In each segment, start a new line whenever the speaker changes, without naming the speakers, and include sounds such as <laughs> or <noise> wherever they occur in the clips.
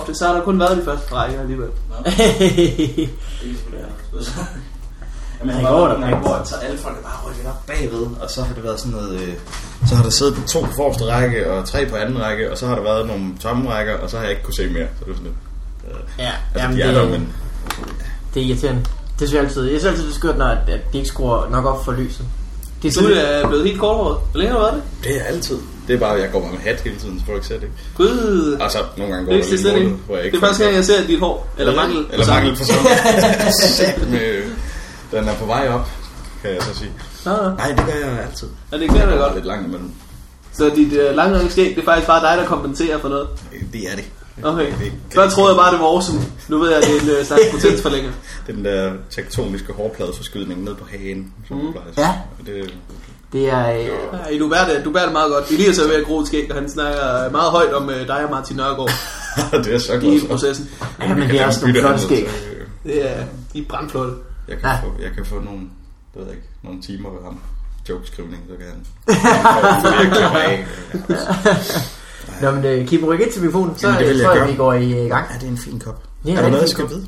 ofte, så har der kun været de første rækker alligevel.
Nå, det er selvfølgelig også. Jamen,
Han
han
går
går
der
der
rigtig.
hvor så alle folk er bare rykket op bagved, og så har det været sådan noget... Øh, så har der siddet to på forreste række, og tre på anden række, og så har der været nogle tomme rækker, og så har jeg ikke kunne se mere. Så det er sådan lidt... Øh,
<laughs> Ja,
altså,
jamen,
de
det,
er der, men...
det er irriterende. Det synes jeg altid. Jeg synes altid, det er skørt, når at, at de ikke skruer nok op for lyset. Det er
Du
sådan,
er blevet helt korthåret. Hvor længe har du været det?
Det er jeg altid. Det er bare, at jeg går bare med hat hele tiden, så folk ser det ikke.
Gud,
Og så nogle gange går
det
der lidt
eksisterer
måned,
ikke.
hvor jeg
Det
ikke
er første gang, jeg ser dit hår. Eller mangel. på
Eller
samme.
mangel på sådan. Sæt med, øh, den er på vej op, kan jeg så sige.
Nå, nå.
Nej, det gør jeg altid.
Ja, det kan jeg da godt.
lidt langt imellem.
Så dit øh, lange skæg, det er faktisk bare dig, der kompenserer for noget.
Det er det.
Okay.
Det-
Før troede jeg bare, det var awesome. Nu ved jeg, at det er en øh, slags potensforlænger.
Den der tektoniske hårpladeforskydning ned på hagen,
Mhm.
som mm. plejer. at
Ja.
sige. Og Det,
det er... <clears throat> Øh,
Ja, du bærer det, du bærer det meget godt. Elias er ved at gro et skæg, og han snakker meget højt om øh, dig og Martin Nørgaard
<laughs> det er så godt.
i
så.
processen.
ja, men
Jeg
det er
kan
også
lave
nogle
en
flotte skæg.
byttehandel, så, øh,
Det er, de er brandflotte.
Jeg kan,
Ja.
få, jeg kan få nogle, det ved jeg ikke, nogle timer ved ham. Jokeskrivning, så kan
<laughs>
han.
Nå, men øh, Kim, ryk ind til mikrofonen, så
Jamen, det vil
øh,
jeg
tror jeg,
gøre.
vi går i øh, gang.
Ja, det er en fin kop.
Ja,
er
det er
der
en
noget, jeg
fin
skal
kop.
vide?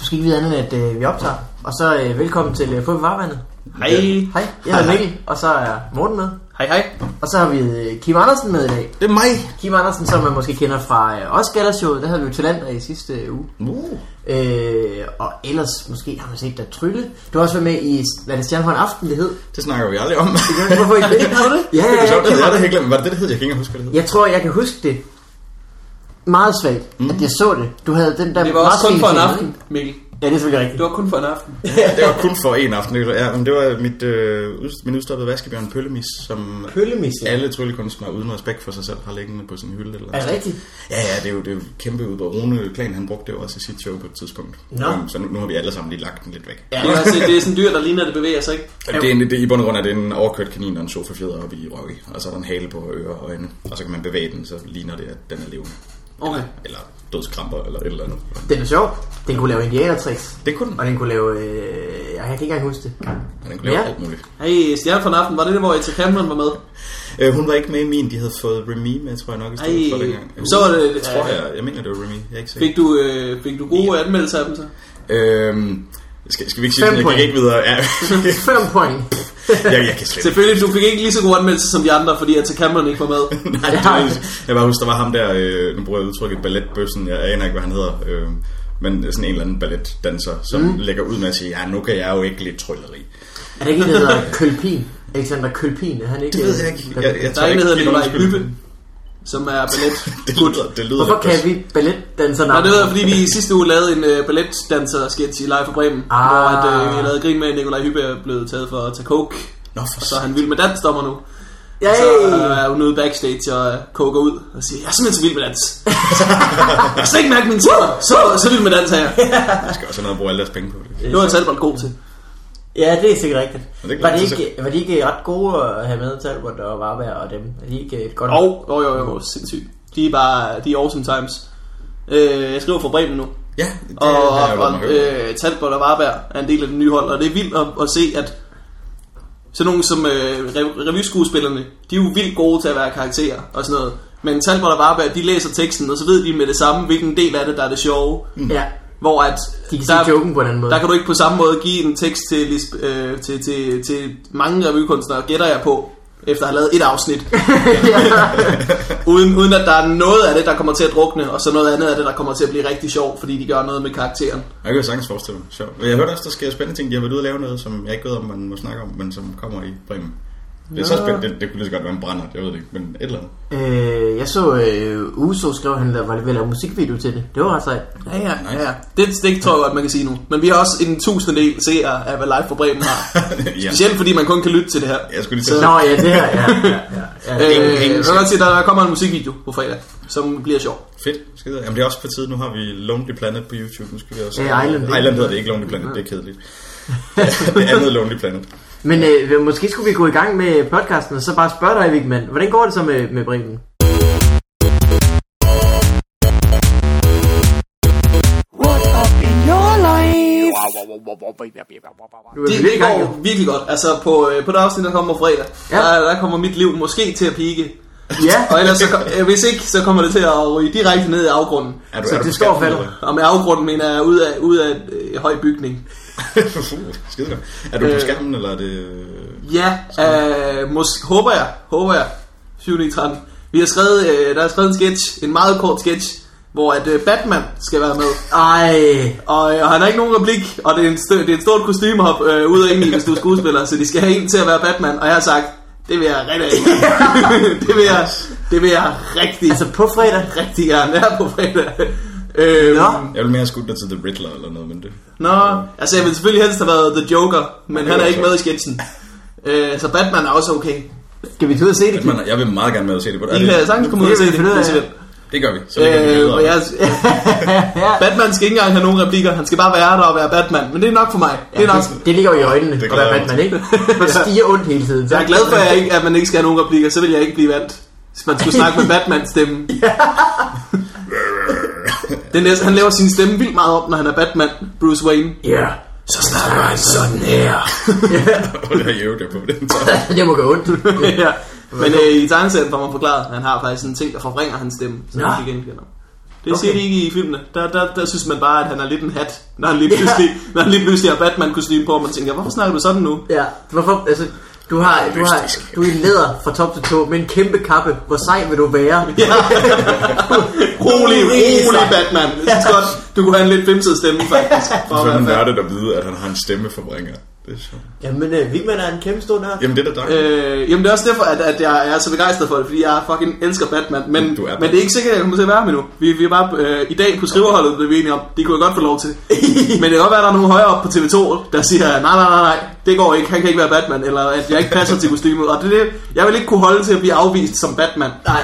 Du skal ikke vide andet, end at øh, vi optager. Og så øh, velkommen til øh, På Bevarvandet.
Hej.
Hej, jeg hedder Mikkel, og så er Morten med.
Hej, hej.
Og så har vi øh, Kim Andersen med i dag.
Det er mig.
Kim Andersen, som man måske kender fra øh, også Gallershowet, der havde vi jo talenter i sidste øh, uge.
Uh.
Øh, og ellers, måske har man set dig trylle. Du har også været med i, hvad er det Stjernehøjn Aften, det hed.
Det snakker vi aldrig om.
Hvorfor ikke det? Har du det? Ja,
<laughs> det
ja,
er sjovt,
ja.
det er det helt glemt. Var det det, det hed? Jeg kan ikke huske, hvad det hed.
Jeg tror, jeg kan huske det meget svagt, mm. at jeg så det. Du havde den der
Det var også kun for en
marsvinefilm,
aften,
ikke?
Mikkel.
Ja, det er selvfølgelig rigtigt.
Det var kun for en aften.
Ja, det var kun for en aften. det var- Ja, men det var mit, øh, ud- min udstoppede vaskebjørn Pøllemis, som
Pøllemisse.
alle tryllekunstnere uden respekt for sig selv har liggende på sin hylde. Eller
Er det rigtigt?
Ja, ja, det er jo, det er jo kæmpe ud. Og Rune Klan, han brugte det jo også i sit show på et tidspunkt.
Nå.
Øhm, Så nu, nu, har vi alle sammen lige lagt den lidt væk.
Det er, også, det er sådan dyr, der ligner, det bevæger sig, ikke?
Ja. Det er en, det, I bund og grund er det en overkørt kanin og en sofafjeder oppe i Rocky. Og så er der en hale på ører og øjne. Og så kan man bevæge den, så ligner det, at den er levende.
Okay.
Eller dødskramper, eller et eller andet.
Den er sjov. Den kunne lave indianertricks.
Det kunne den.
Og den kunne lave... Øh, jeg kan ikke engang huske det.
Og den kunne lave
Ja.
ja. alt muligt.
Hey, Stjerne for en aften, var det det, hvor Etta Cameron var med?
Øh, hun var ikke med i min, de havde fået Remy med, tror jeg nok, i stedet
Ej,
for dengang. Øh,
så var det-
Jeg tror jeg, jeg mener, det var Remy, jeg er ikke sikker.
Fik du, øh, fik du gode anmeldelser af dem så?
Øhm, skal, skal vi ikke sige,
Fem
sådan, jeg
point.
gik ikke
<laughs>
videre. Ja,
5 point.
jeg, jeg kan slet ikke.
Selvfølgelig, du fik ikke lige så gode anmeldelser som de andre, fordi Etta Cameron ikke
<laughs>
var med.
Nej, det var, jeg bare husker, der var ham der, øh, nu bruger jeg udtrykket balletbøssen, jeg aner ikke, hvad han hedder. Øh, men sådan en eller anden balletdanser, som mm. lægger ud med at sige, ja, nu kan jeg jo ikke lidt trylleri.
Er det ikke en, der hedder Kølpin? Alexander Kølpin, er han ikke...
Det ved jeg
øh,
ikke.
ballet-
Jeg, jeg
Der
tror
er en,
ikke,
der hedder
det er
Nikolaj
nogen skyld.
Lyppe, som er ballet.
Det lyder, det lyder
Hvorfor
lidt
kan vi balletdanser
Nej, det ved jeg, fordi vi i sidste uge lavede en øh, balletdanser-sketch i Live for Bremen,
Ah.
hvor at, øh, vi lavede grin med, at Nikolaj Hyppe er blevet taget for at tage coke,
Nå, for
og så er han vild med dansdommer nu.
Ja,
Så øh, er hun ude backstage og øh, koker ud og siger, jeg er simpelthen så vild med dans. jeg kan slet ikke mærke min tænder, så, så vild med dans her.
Jeg skal også have noget at bruge alle deres penge på. Det.
Det var Talbot god til.
ja, det er sikkert rigtigt.
Men det kan
Var de,
man altid
ikke, var de ikke ret gode at have med, Talbot og Varberg og dem? Er de ikke et godt...
Og, jo jo jo, sindssygt. De er bare, de er awesome times. Øh, jeg skriver for Bremen nu.
Ja, det
Og,
har
og,
jeg godt nok
og
hørt.
øh, Talbot og Varberg er en del af det nye hold, og det er vildt at, at se, at sådan nogen som øh, rev- revyskuespillerne, de er jo vildt gode til at være karakterer og sådan noget. Men Talbot og Varberg, de læser teksten, og så ved de med det samme, hvilken del af det, der er det sjove.
Mm.
Ja,
Hvor at,
de kan sige joken på en anden måde.
der
<laughs>
kan du ikke på samme måde give en tekst til, Lis- øh, til, til, til mange revykunstnere, gætter jeg på, efter at have lavet et
<laughs>
afsnit. uden, uden at der er noget af det, der kommer til at drukne, og så noget andet af det, der kommer til at blive rigtig sjovt, fordi de gør noget med karakteren.
Jeg kan jo sagtens forestille mig. Sjovt. Jeg hørte også, der sker spændende ting. De har været ude og lave noget, som jeg ikke ved, om man må snakke om, men som kommer i Bremen. Det er så spændende. Det, det kunne lige så godt være en brænder, jeg ved det ikke, men et eller andet. <laughs>
Øh, jeg så øh, Uso skrev, at han la- var ved at lave musikvideo til det. Det var ret sejt.
Ja, ja, ja. ja. Det stik tror jeg godt, man kan sige nu. Men vi har også en tusinddel seere af, hvad Live for Bremen
<laughs>
har.
ja.
Specielt fordi man kun kan lytte til det her.
Jeg skulle lige til at
Nå ja, det her,
<laughs>
ja. ja, ja, ja.
Øh,
det-
jeg vil godt sige, der kommer en musikvideo på fredag, som bliver sjov.
Fedt. Skide. Jamen det er også på tide. Nu har vi Lonely Planet på YouTube. Nu skal vi også...
Ja, Island.
Island hedder det ikke Lonely Planet. Det er
<laughs>
kedeligt. det andet Lonely Planet.
Men øh, måske skulle vi gå i gang med podcasten, og så bare spørge dig, Vigman, hvordan går det så med, med Bremen?
What up in your life?
Du er
Det,
lidt i
det
gang,
går
jo.
virkelig godt. Altså på, øh, på det afsnit, der kommer fredag,
Ja.
ja. der, der kommer mit liv måske til at pike.
Ja,
Og ellers, så, kom- øh, hvis ikke, så kommer det til at ryge direkte ned i afgrunden.
Er du,
Så
er du
det
på
står og
skatten,
falder.
eller <laughs>
Og med afgrunden mener jeg ud af, ud af øh, høj bygning.
hvad? Uh, Skide godt. Er du på
Øh.
skærmen, eller er det...
Ja, øh, måske, håber jeg, håber jeg, 7. 9, 13. Vi har skrevet, øh, der er skrevet en sketch, en meget kort sketch, hvor at øh, Batman skal være med.
Ej,
Og, øh, og han har ikke nogen replik, og det er, en stø- det er et stort kostymehop øh, ud og ind i, hvis du er skuespiller, så de skal have en til at være Batman. Og jeg har sagt, det vil jeg rigtig <laughs> det, vil jeg, det vil jeg rigtig,
altså på fredag.
rigtig gerne være på fredag. Øhm,
Nå.
Jeg ville mere have skudt dig til The Riddler eller noget, men det...
Nå, altså jeg ville selvfølgelig helst have været The Joker, men han er ikke med i sketchen. Øh, så Batman er også okay.
Skal vi tage ud og se det?
Batman, jeg vil meget gerne med at se det på dig.
Vi kan sagtens komme ud og se
Det
det,
kan vi finde ud af.
hvis I vil.
Det gør vi. Så lægger vi
Øh,
billeder
men
op.
jeg,
<laughs>
<laughs>
Batman skal ikke engang have nogen replikker, han skal bare være der og være Batman, men det er nok for mig. Det er nok.
Det ligger jo i øjnene,
Det
og hvad
glæder
man ikke? Man stiger ondt hele tiden.
Jeg er glad for, at, jeg ikke, at man ikke skal have nogen replikker, så vil jeg ikke blive valgt. Hvis man skulle
<laughs>
snakke med Batman stemme. Den næste, han laver sin stemme vildt meget op, når han er Batman, Bruce Wayne.
Ja.
Så snakker han sådan
<laughs>
her.
Og det har jeg øvet jer på den så.
Det må gøre ondt.
<laughs> ja. Men øh, i tegneserien får man forklaret, at han har faktisk en ting, der forbringer hans stemme, så
Nå.
han ikke genkender. Det okay.
Okay.
siger de ikke i filmene. Der, der, der synes man bare, at han er lidt en hat, når han lige pludselig, når han lige pludselig har batman kostume på, og man tænker, hvorfor snakker du sådan nu?
Ja. Hvorfor, altså, du har, du har,
Mystisk.
du er i læder fra top til tå med en kæmpe kappe. Hvor sej vil du være?
Ja. rolig, rolig Batman. Jeg synes godt, du kunne have en lidt femset stemme, faktisk. For
Så
at
er det
være
nørdet at vide, at han har en stemmeforbringer. Det er sjovt.
Jamen, øh, Vigman er en kæmpe stor nørd.
Jamen, det er da dig. <laughs>
Øh, jamen det er også derfor, at, at jeg er så begejstret for det, fordi jeg fucking elsker Batman. Men,
Du er Batman.
men det er ikke sikkert, at jeg kommer til at være med nu. Vi, vi er bare øh, i dag på skriverholdet blevet enige om, det kunne jeg godt få
<laughs>
lov til. men det kan godt være, at der er nogen højere op på TV2, der siger, nej, nej, nej, nej, det går ikke, han kan ikke være Batman, eller at jeg ikke passer til kostymet. Og det, er det, jeg vil ikke kunne holde til at blive afvist som Batman.
Nej,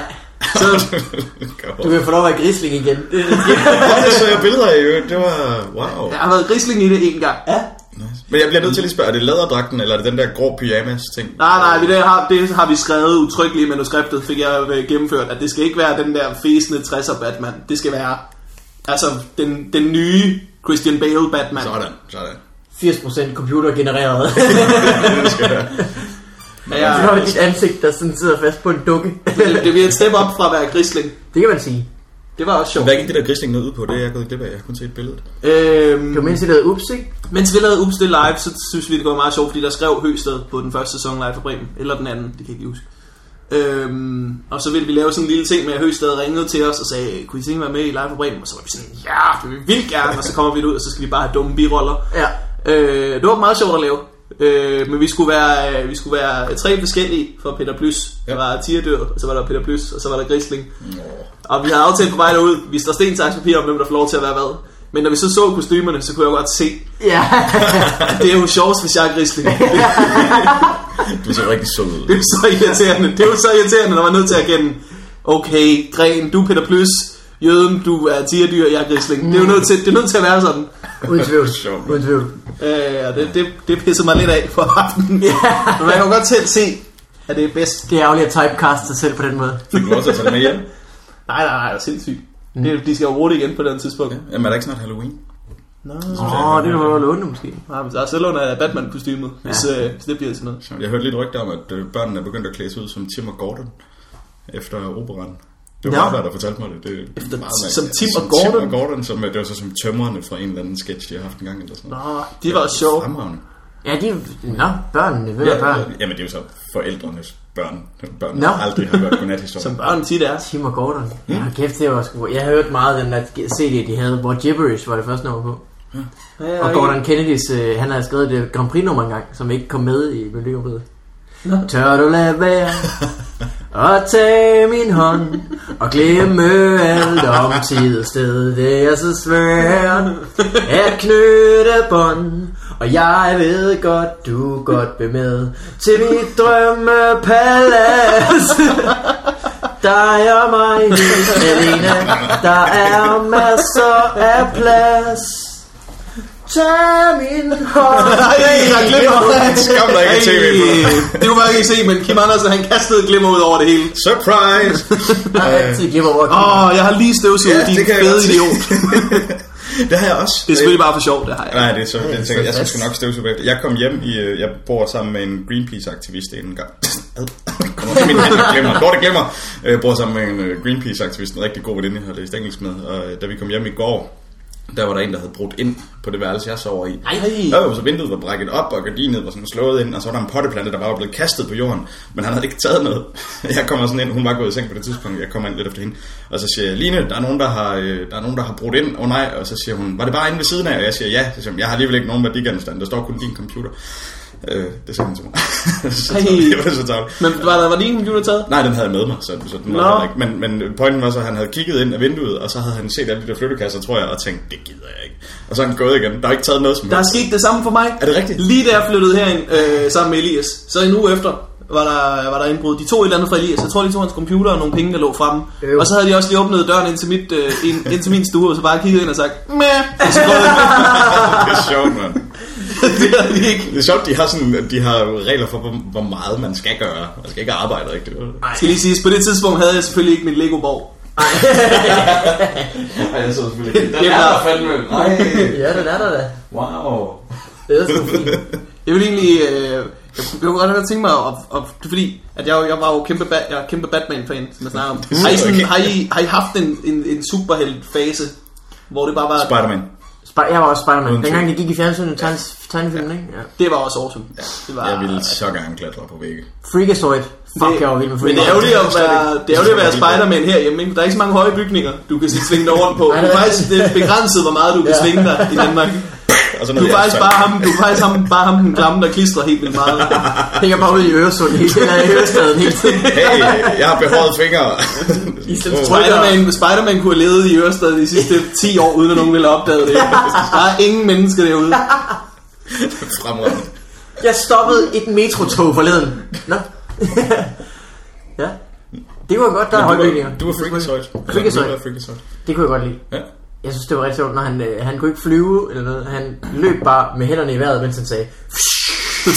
Så,
Godt.
du kan få lov at være grisling igen. Det,
Ej, det så jeg billeder af i øvrigt. Det var... Wow.
jeg har været grisling i det en gang. Ja.
Nice. Men jeg bliver nødt til at lige spørge, er det læderdragten, eller er det den der grå pyjamas ting?
Nej, nej, vi- det har, det har vi skrevet utryggeligt i manuskriptet, fik jeg øh, gennemført, at det skal ikke være den der fæsende 60'er Batman. Det skal være altså den, den nye Christian Bale Batman.
Sådan, sådan.
80% computergenereret. <laughs>
Ja,
Så har vi dit ansigt, der sådan sidder fast på en dukke.
det, det bliver et step op fra at være grisling.
Det kan man sige.
Det var også sjovt.
Hvad gik det der grisling ned ud på? Det er jeg gået glip af. Jeg har kun set billedet.
Det var
Øhm,
mindst, det lavede ups, ikke?
mens vi lavede Ups det live, så synes vi, det var meget sjovt, fordi der skrev Høsted på den første sæson live for Bremen, eller den anden, det kan jeg ikke lige huske. Øhm, og så ville vi lave sådan en lille ting med, at Høsted ringede til os og sagde, kunne I tænke mig med i live for Bremen? Og så var vi sådan, ja, det vil vi vildt gerne, og så kommer vi ud, og så skal vi bare have dumme biroller.
Ja.
Øh, det var meget sjovt at lave. Øh, men vi skulle, være, øh, vi skulle være tre forskellige for Peter Plys. Ja.
Ja.
Der var Tierdyr, og så var der Peter Plys, og så var der Grisling.
Nå.
Og vi havde aftalt på vej derud, vi står sten, saks, papir om, hvem der får lov til at være hvad. Men når vi så så kostymerne, så kunne jeg godt se,
Ja.
at det er jo sjovest, hvis jeg er Grisling. Det
Du ser rigtig sød ud.
er jo så irriterende. Det er jo så irriterende, når man er nødt til at kende, okay, Gren, du er Peter Plys, Jøden, du er Tierdyr, jeg er Grisling. Det er jo nødt til, det er nødt til at være sådan.
Uden tvivl.
Sjovt.
Uden tvivl.
Øh, og det, det, det pissede mig lidt af for aftenen. Men man kan jo godt selv se, at det er bedst.
Det er ærgerligt at typecaste sig selv på den måde.
Fik du også at tage det med hjem?
Nej, nej, nej, det er sindssygt. Mm. Det, de skal jo bruge det igen på den tidspunkt. Ja.
Jamen, er der ikke snart Halloween?
Nå,
Åh, det var jo låne måske.
nej, men der er selv under Batman-kostymet, ja. hvis, øh, hvis det bliver til noget.
Jeg hørte lidt rygter om, at øh, børnene er begyndt at klæde sig ud som Tim og Gordon efter operan. Det var
Nå.
ja. der, der fortalte mig det. det er
Efter-
meget
som
mærkeligt.
Tim og
Tim
Gordon?
og Gordon, som, øh, det var så som tømmerne fra en eller anden sketch, de har haft en gang eller sådan noget.
Nå, de var også sjove.
Fremragende.
Ja, de... Nå, børnene. Hvem
Ja,
er børn?
Jamen, det er jo så forældrenes børn. Børn,
Nå.
der aldrig har hørt godnathistorier.
Som børn tit er.
Tim og Gordon. Ja, kæft, det var sgu... Jeg har hørt meget af den der CD, de havde, hvor Gibberish var det første nummer på.
Ja,
Og Gordon Kennedys, øh, han havde skrevet det Grand Prix nummer engang, som ikke kom med i Melodiummet.
Nå.
Tør du lade være og tage min hånd og glemme alt om tid og sted. Det er så svært at knytte bånd, og jeg ved godt, du godt vil med til mit drømmepalads. Dig og mig helt alene Der er masser af plads Tag min hånd
Nej, jeg glemmer
Skam, der ikke er tv på.
Det kunne man ikke se, men Kim Andersen, han kastede glimmer ud over det hele.
Surprise!
Jeg har altid giver over
Åh, oh, jeg har lige støvsuget,
Ja,
din
det kan jeg
fede
godt se.
idiot.
<laughs> Det har jeg også.
Det er selvfølgelig bare for sjovt, det har jeg.
Nej, det er så, det tænker, jeg, jeg
fantastisk.
skal nok støvsuge bagefter. Jeg kom hjem i, øh, jeg bor sammen med en Greenpeace-aktivist en gang. Ad. Kort, Min hand glemmer, kort, jeg glemmer. Øh, Jeg bor sammen med en øh, Greenpeace-aktivist, en rigtig god veninde, jeg har læst engelsk med. Og øh, da vi kom hjem i går, der var der en, der havde brudt ind på det værelse, jeg sover i.
Ej.
Jo, jo, så vinduet var brækket op, og gardinet var sådan slået ind, og så var der en potteplante, der bare var blevet kastet på jorden, men han havde ikke taget noget. <laughs> Jeg kommer sådan ind, hun var gået i seng på det tidspunkt, jeg kommer ind lidt efter hende, og så siger jeg, Line, der er nogen, der har, øh, der er nogen, der har brudt ind, åh oh, nej, og så siger hun, var det bare inde ved siden af? Og jeg siger, ja, så siger hun, jeg har alligevel ikke nogen værdigenstand, der står kun din computer. Øh, det sagde hun til mig. <laughs> så
Ej.
tavligt, det var så tavligt.
Men var der var din computer taget?
Nej, den havde jeg med mig, så, så den
Nå.
var der ikke. Men, men pointen var så, at han havde kigget ind af vinduet, og så havde han set alle de der flyttekasser, tror jeg, og tænkt, det gider jeg ikke. Og så er han gået igen. Der er ikke taget noget som
Der er
helst.
sket det samme for mig.
Er det rigtigt?
Lige da jeg flyttede herind øh, sammen med Elias, så en uge efter var der, var der indbrud. De tog et eller andet fra Elias. Jeg tror, de tog hans computer og nogle penge, der lå fremme.
Øv.
Og så havde de også lige åbnet døren ind til, mit, øh, ind, ind til min stue, og så bare kigget ind og sagt, Mæh! Og så gået ind.
Det er sjovt, mand.
<laughs> det havde de ikke.
Det er sjovt, de har, sådan, de har regler for, hvor, hvor meget man skal gøre. Man skal ikke arbejde rigtigt.
Ej. Skal lige siges, på det tidspunkt havde jeg selvfølgelig ikke min Lego-borg.
Nej, det så selvfølgelig ikke.
Det er klart.
fandme. Nej.
Ja, den er der da.
Wow.
Det er sgu fint.
Jeg vil egentlig... Øh, jeg, kunne- jeg kunne godt have tænkt mig, at, at, det er fordi, at jeg, jo- jeg var jo kæmpe, ba- jeg er kæmpe Batman-fan, som jeg snakker om. Har I, sådan,
okay.
har I, har I haft en, en, en superhelt-fase, hvor det bare var...
Spider-Man.
Sp- jeg var også Spider-Man.
Uden
Dengang det gik i fjernsynet, tegnes- tegnefilmen, ikke? Ja.
Det var også awesome. Det var,
Jeg ville så gerne klatre på vægge.
Freakazoid. Fuck,
Det-
jeg var vild med
Men det er
Freakazoid.
ærgerligt at være, det er ærgerligt at være
Det er slet
Spider-Man herhjemme. Ikke? Der er ikke så mange høje bygninger, du kan svinge dig rundt på. Du er faktisk det er begrænset, hvor meget du kan svinge dig i Danmark.
Og så
Du er faktisk bare ham, du er faktisk ham, bare ham den klamme, der klistrer helt vildt meget.
Hænger bare ud i Øresund hele tiden, eller i Ørestaden hele tiden. Ligesom
Hey, jeg har behåret fingre. <laughs>
I stedet for trøje.
Spider-Man, Spider-Man kunne have levet i Ørsted de sidste 10 år, uden at nogen ville have opdaget det. Der er ingen mennesker derude.
Fremragende.
Jeg stoppede et metrotog forleden. Nå. <laughs> ja. Det var godt, der er højbygninger.
Du er freakazoid.
Freakazoid.
Du er freakazoid.
Det kunne jeg godt lide.
Ja.
Jeg synes, det var rigtig sjovt, når han, øh, han kunne ikke flyve eller noget. Han løb bare med hænderne i vejret, mens han sagde, <laughs>
Og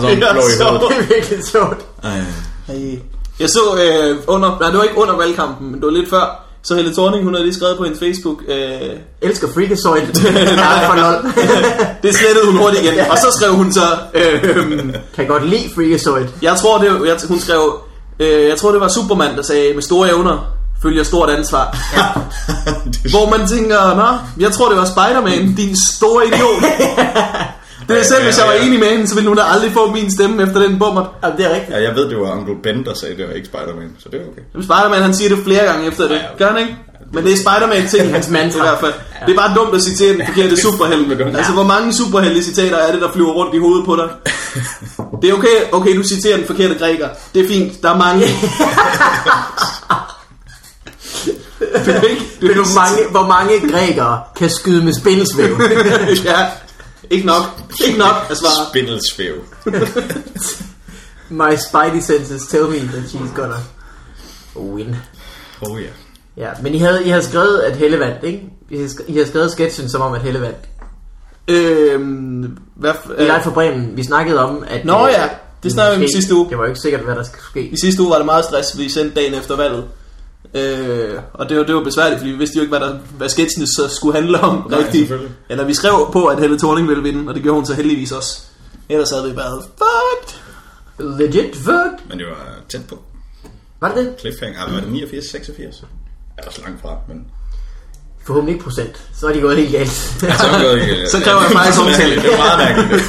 så er
<laughs> Det er
han blå i
så-
hovedet.
det er virkelig sjovt.
Ej.
Jeg så øh, under, nej, det var ikke under valgkampen, men det var lidt før. Så Helle Thorning, hun havde lige skrevet på hendes Facebook, øh,
Elsker Freakazoid. Nej, for lol.
det slettede hun hurtigt igen. Og så skrev hun så, øh,
Kan godt lide Freakazoid.
Jeg tror, det, jeg, hun skrev, øh, jeg tror, det var Superman, der sagde, med store evner følger stort ansvar.
<laughs> Det er-
Hvor man tænker, nå, jeg tror, det var Spider-Man, din store idiot. Det er selv, hvis jeg var enig med hende, så ville hun da aldrig få min stemme efter den bummer.
Jamen, det er rigtigt.
Ja, jeg ved, det var Uncle Ben, der sagde det, og ikke Spider-Man, så det er okay.
Spider-Man, han siger det flere gange efter det. Gør han ikke? Men det er Spider-Man-ting,
Hans mantra.
i hvert fald. Det er bare dumt at citere den forkerte superhelt. Altså, hvor mange superhelte citater er det, der flyver rundt i hovedet på dig? Det er okay, okay, du citerer den forkerte græker. Det er fint, der er mange. Du kan ikke,
Ved du, mange, hvor mange grækere kan skyde med spindelsvæv?
<laughs> ja, ikke nok. Ikke nok at svare.
Spindelsvæv.
My spidey senses tell me that she's gonna win.
Oh ja.
Ja, men I havde, I havde skrevet, at Helle vandt, ikke? I havde, sk- I havde skrevet sketchen som om, at Helle vandt.
Øhm, hvad, f-
I
øh,
Live for Bremen, vi snakkede om, at...
Nå
øh,
ja, det snakkede vi om
måske-
sidste uge.
Det var jo ikke sikkert, hvad der skulle ske.
I sidste uge var det meget stress, fordi I sendte dagen efter valget. Øh, og det var, det var besværligt, fordi vi vidste jo ikke, hvad, der, hvad sketchene så skulle handle om
Nej,
rigtigt.
selvfølgelig.
Eller vi skrev på, at Helle Thorning ville vinde, og det gjorde hun så heldigvis også. Ellers havde vi været, fuck!
Legit fuck.
Men det var tæt på.
Var det det?
Cliffhanger, ah, var det 89, 86? Jeg er også langt fra, men...
Forhåbentlig ikke procent. Så er de gået helt
<laughs>
galt.
Så, er
<laughs>
det ikke,
Så kræver jeg faktisk omtale.
Det er meget mærkeligt. <laughs>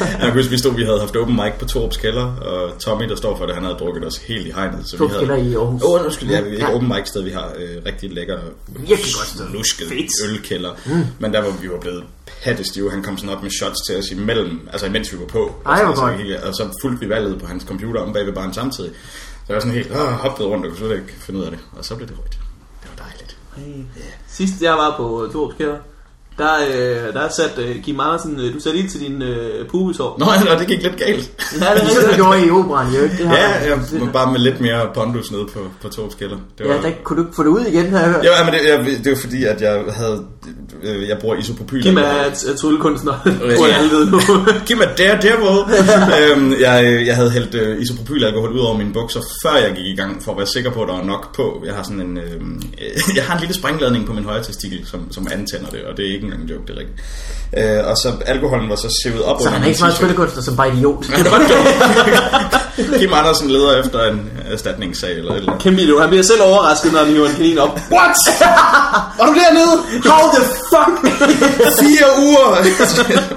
Jeg kan huske, vi stod, vi havde haft open mic på Torps kælder, og Tommy, der står for det, han havde drukket os helt i hegnet. Så
Torps
vi
Kælder
havde...
i Aarhus.
Åh, oh, undskyld, ja, vi er
Ja.
et open mic sted, vi har øh, rigtig lækker,
Virkelig godt sted. Mm.
lusket ølkælder. Men der var vi var blevet pattestive. Han kom sådan op med shots til os imellem, altså imens vi var på.
Ej, hvor
Og så-
godt.
så gik jeg- Og så fulgte vi valget på hans computer om bag ved baren samtidig. Så jeg var sådan helt øh, hoppet rundt og kunne slet ikke finde ud af det. Og så blev det rødt. Det var dejligt.
Sidst jeg var på Torups øh, Kælder, der, øh, der er sat, øh, Kim Andersen, øh, du satte ild til din øh, pubesår.
Nå, <laughs> ja, og det gik lidt galt.
Ja, det er
Det
rigtigt.
gjorde I i operan, jo ikke? Det har
Ja, ja, men bare med lidt mere pondus nede på, på to skiller. Det
ja, der kunne du ikke få det ud igen, har jeg hørt.
Jo, ja, men det, jeg, det er jo fordi, at jeg havde... øh, Jeg bruger isopropyl.
Kim er et- et tryllekunstner,
Ja.
tror jeg alle ved nu. <laughs>
Giv mig der, der øhm, jeg, jeg havde hældt øh, isopropylalkohol ud over mine bukser, før jeg gik i gang, for at være sikker på, at der var nok på. Jeg har sådan en, øh, <laughs> jeg har en lille sprængladning på min højre testikel, som, som antænder det, og det er ikke engang en joke, det er rigtigt. Øh, og så alkoholen var så sivet op
Så han er ikke så meget tryllekunstner som bare
<laughs>
idiot.
Kim Andersen leder efter en erstatningssag eller et eller andet.
Kæmpe idiot. Han bliver selv overrasket, når han hiver en kanin op. What? Var du dernede? How the fuck?
Fire <laughs> uger!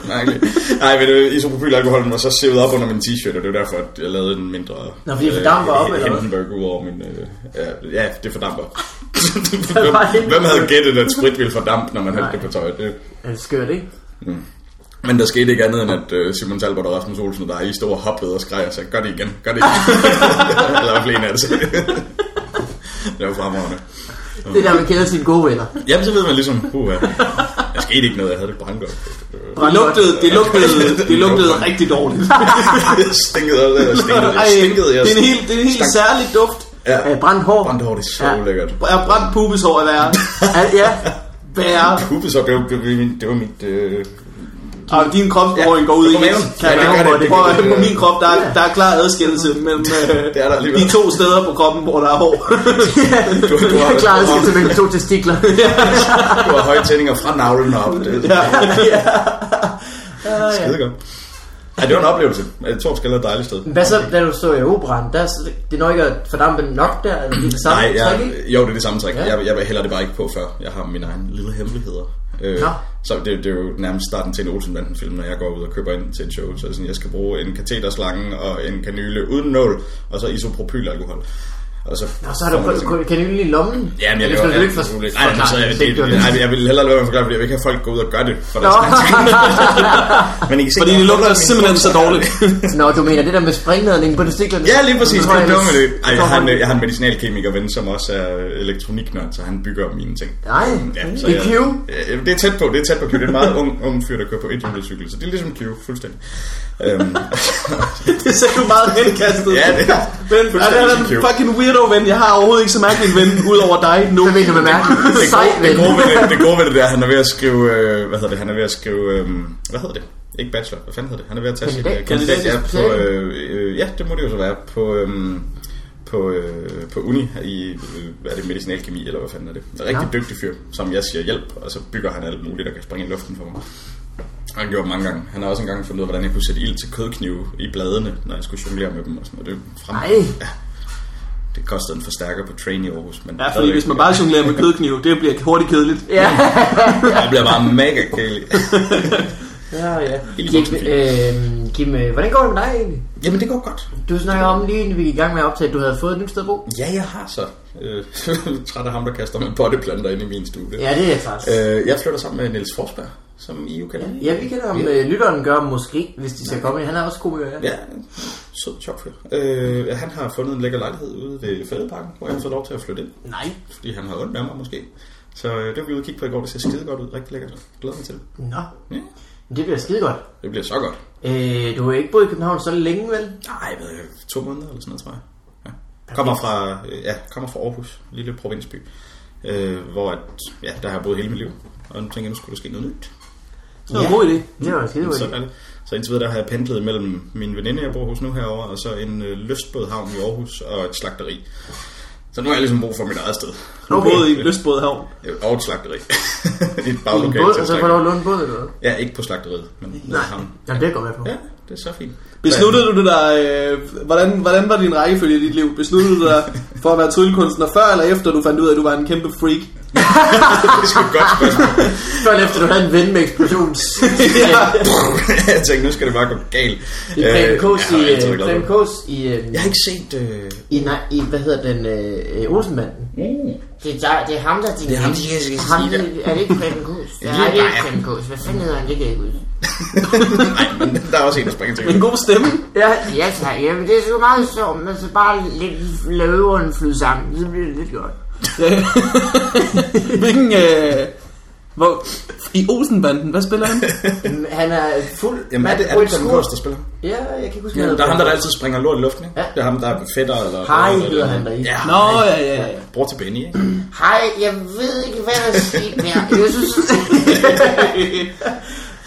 Mærkeligt. Nej, men øh, isopropylalkoholen var så sivet op under min t-shirt, og det var derfor, at jeg lavede en mindre... øh,
Nå, fordi det fordamper op, eller hvad?
Hindenburg ud over min... Øh, ja, ja, det fordamper.
<laughs> var
hvem,
Hindenburg?
hvem havde gættet, at sprit ville fordampe, når man
Nej.
hældte det på tøjet? Det. mm.
Er det skørt, ikke?
Men der skete ikke andet, end at øh, Simon Talbot og Rasmus Olsen og der i store hoppede og skreg og sagde, gør det igen, gør det
<laughs>
igen. eller i hvert fald en af det. det var fremragende.
Det er der, man kender sine gode venner.
Jamen, så ved man ligesom, puha, der skete ikke noget, jeg havde det brandgodt.
Det lugtede, det lugtede, det lugtede rigtig dårligt.
Det stinkede også, det stinkede,
Ej,
det stinkede, jeg
det er en helt, det er en helt
stank.
særlig duft.
Ja,
Øh, brændt hår.
brandhår, det er så
Ja.
lækkert.
Er brændt pubeshår er værre.
Ja, ja.
Værre.
<laughs> Pubes op, det var, det var, min- det var mit... Øh,
Og din kropsbehåring går ud
det
i
går maven.
et. Kan
Ja,
jeg love
det gør det,
for det.
det gør
Prøv at-
det.
På min krop, der er, der er klar adskillelse mellem øh,
<laughs> Det er der alligevel.
de to steder på kroppen, hvor der er hår. <laughs>
du, du, har,
Jeg klarer
du,
skal
har,
til mellem to testikler.
du har høje tændinger fra navlen og op. Det, det
Ja.
er skide godt. Ja, det var en oplevelse. Jeg tror, skal er et dejligt sted.
Hvad så, da du stod i operan? Der, er- det når ikke at fordampe nok der, eller det er det samme
Nej,
træk,
jeg,
ikke?
jo, det er det samme trick.
Ja.
Jeg, jeg hælder det bare ikke på før. Jeg har mine egne lille hemmeligheder. Øh,
Nå.
så det, det, er jo nærmest starten til en Olsenbanden-film, når jeg går ud og køber ind til et show. Så er det sådan, jeg skal bruge en kateterslange og en kanyle uden nål, og så isopropylalkohol. Og så,
Nå, så har du
får man ligesom- det sådan-
kun kanylen i lommen.
Ja, men
det
jeg laver
skal du
alt
ikke for...
muligt. Nej, nej, så
forklare,
jeg,
hvis ikke
det,
du har lyst.
nej, jeg vil hellere lade være med at forklare, fordi jeg vil ikke have folk gå ud og gøre det. For
Nå. <laughs>
der Men I kan se,
Fordi det lugter simpelthen så dårligt.
Nå, du mener det der med springladning på testiklerne?
<laughs> Ja, lige præcis.
Så
Det
tror
er en
jeg,
dum
hvis-
idé.
så
Ej, jeg
tror
har, en,
han-
jeg har en medicinalkemiker ven, som også er elektroniknørd, så han bygger mine ting.
Nej,
så
det er E Q.
jeg- Ja, det er tæt på, det er tæt på Q. Det er en meget ung, ung fyr, der kører på et cykel, så det er ligesom Q, fuldstændig. Øhm,
Det ser du meget henkastet.
ja, det er.
Men er det er en
Fuldstændig
fucking weirdo ven. Jeg har overhovedet ikke så mærkelig en ven, udover dig nu.
Hvad mener du med mærkeligt?
Det
Sej,
gode,
ven.
det, gode ved det, det gode ved det der, han er ved at skrive, øh, hvad hedder det, han er ved at skrive, øh, hvad hedder det? Ikke bachelor, hvad fanden hedder det? Han er ved at tage
Kandidat.
øh, kandidat ja,
Kandidat.
på, øh, øh, ja, det må det jo så være, på, øh, på, øh, på uni i, øh, hvad er det, medicinalkemi, eller hvad fanden er det? En rigtig
Ja.
dygtig fyr, som jeg siger hjælp, og så bygger han alt muligt, der kan springe i luften for mig. Og han gjorde det mange gange. Han har også engang fundet ud af, hvordan jeg kunne sætte ild til kødknive i bladene, når jeg skulle jonglere med dem og sådan noget. Det, er frem...
Nej.
ja. det kostede en forstærker på train i Aarhus. Men
Ja, fordi hvis man bare jonglerer med kødkniv, det bliver hurtigt kedeligt.
Ja,
Jeg bliver bare mega kedelig.
<laughs>
ja, ja.
Helt
Kim,
voksenfilm.
øh, Kim, øh, hvordan går det med dig egentlig?
Jamen, det går godt.
Du snakker om lige inden vi gik i gang med at optage, at du havde fået et nyt sted at bo.
Ja, jeg har så. Øh, <laughs> træt af ham, der kaster med potteplanter ind i min stue.
Ja, det er faktisk.
Øh, jeg flytter sammen med Niels Forsberg, som I jo kender.
Ja, vi kender ham. Øh, lytteren gør måske, hvis de skal komme ind. Han er også komiker, ja.
Ja, en sød chopfyr. Øh, han har fundet en lækker lejlighed ude ved Fældeparken, hvor jeg har fået lov til at flytte ind,
Nej.
fordi han har ondt af mig måske. Så øh, det var vi ude og kigge på i går, det ser skide godt ud, rigtig lækkert. Glæder mig til det.
Nå,
Ja,
men det bliver skide godt.
det bliver så godt.
Øh, du har ikke boet i København så længe, vel?
Nej, jeg ved ikke, to måneder eller sådan noget, tror jeg. Ja. Kommer fra, øh, ja, kommer fra Aarhus, en lille provinsby, øh, hvor at, ja, der har jeg boet hele mit liv. Og nu tænker jeg, nu skulle der ske noget nyt.
Det var en god idé.
Det var skide godt.
Så, er det. så indtil videre, der har jeg pendlet mellem min veninde, jeg bor hos nu herover, og så en øh, lystbådhavn i Aarhus og et slagteri. Så nu har jeg ligesom brug for mit eget sted.
Du
Okay.
boede i Lystbådehavn.
Øh, Og et slagteri. <laughs> I et
I en
baglokal
båd, altså,
til
og
et
så får du lov
slagteri.
at låne en båd, eller hvad?
Ja, ikke på slagteriet, men nede i havnen.
Jamen, det går med på.
Ja, det er så fint.
Besluttede du dig, øh, hvordan, hvordan var din rækkefølge i dit liv? Besluttede du dig for at være tryllekunstner før eller efter, du fandt ud af, at du var en kæmpe freak?
Det er sgu et godt spørgsmål.
Før eller efter du havde en ven med <laughs> eksplosions...
Ja.
<laughs> jeg tænkte, nu skal det bare gå galt.
I
Øh,
Preben Kås i...
jeg har altid været glad
Preben
for det.
Kås i... øh,
Jeg har ikke set... Øh...
I, nej, i, hvad hedder den, øh, øh, Olsenbanden? Det er, der, det er ham, der er din
Det er ham,
ven.
de her skal
ham,
sige
Er det ikke Preben Kås? Ja,
lige
det er ikke
dig.
Preben Kås. Hvad fanden hedder han? Det kan jeg ikke huske.
Nej, men der er også en, der springer til.
En god stemme.
Ja, ja tak. Jamen, det er sgu meget sjovt, men så bare lidt løverne flyde sammen, så bliver det lidt godt.
Hvilken, øh, Hvor, I Olsenbanden, hvad spiller han?
Mm, Han er fuld...
Jamen, er
mand
det, er det
på et
Tom
skur.
Kors, der spiller?
Ja, jeg kan ikke huske,
Ja,
hvad
der er ham, der,
hedder.
altid springer lort i luften, ikke?
Ja.
Det er ham, der er fætter eller...
Hej,
eller-
hedder han der i.
Ja,
Nå, ja, ja, ja.
bror til Benny, ikke?
Hej, jeg ved ikke, hvad der er sket mere. Jeg <laughs> synes...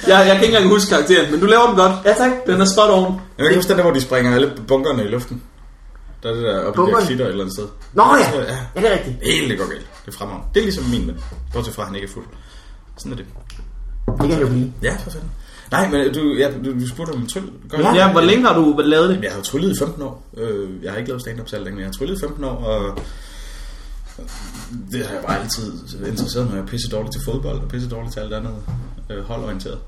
Jeg, jeg kan ikke engang huske karakteren, men du laver den godt.
ja, tak.
Den er spot on.
Jeg kan ikke huske den der, hvor de springer alle bunkerne i luften. Der er det der oppe i de der
Bunkerne?
klitter et eller andet sted.
Nå ja,
Ja.
ja det er rigtigt.
Helt det går galt. Det er fremragende. Det er ligesom min ven. Bortset fra, at han ikke er fuld. Sådan er det.
Det kan det jo blive.
Ja, for fanden. Nej, men du, ja, du, du spurgte om tryl. Gør jeg?
Ja, hvor længe har du lavet det?
Jamen, Jeg har jo tryllet i 15 år. Øh, Jeg har ikke lavet stand-up særlig længe, men jeg har tryllet i 15 år, og øh, det har jeg bare altid interesseret mig. Jeg er pisse dårlig til fodbold, og pisse dårlig til alt andet øh, holdorienteret.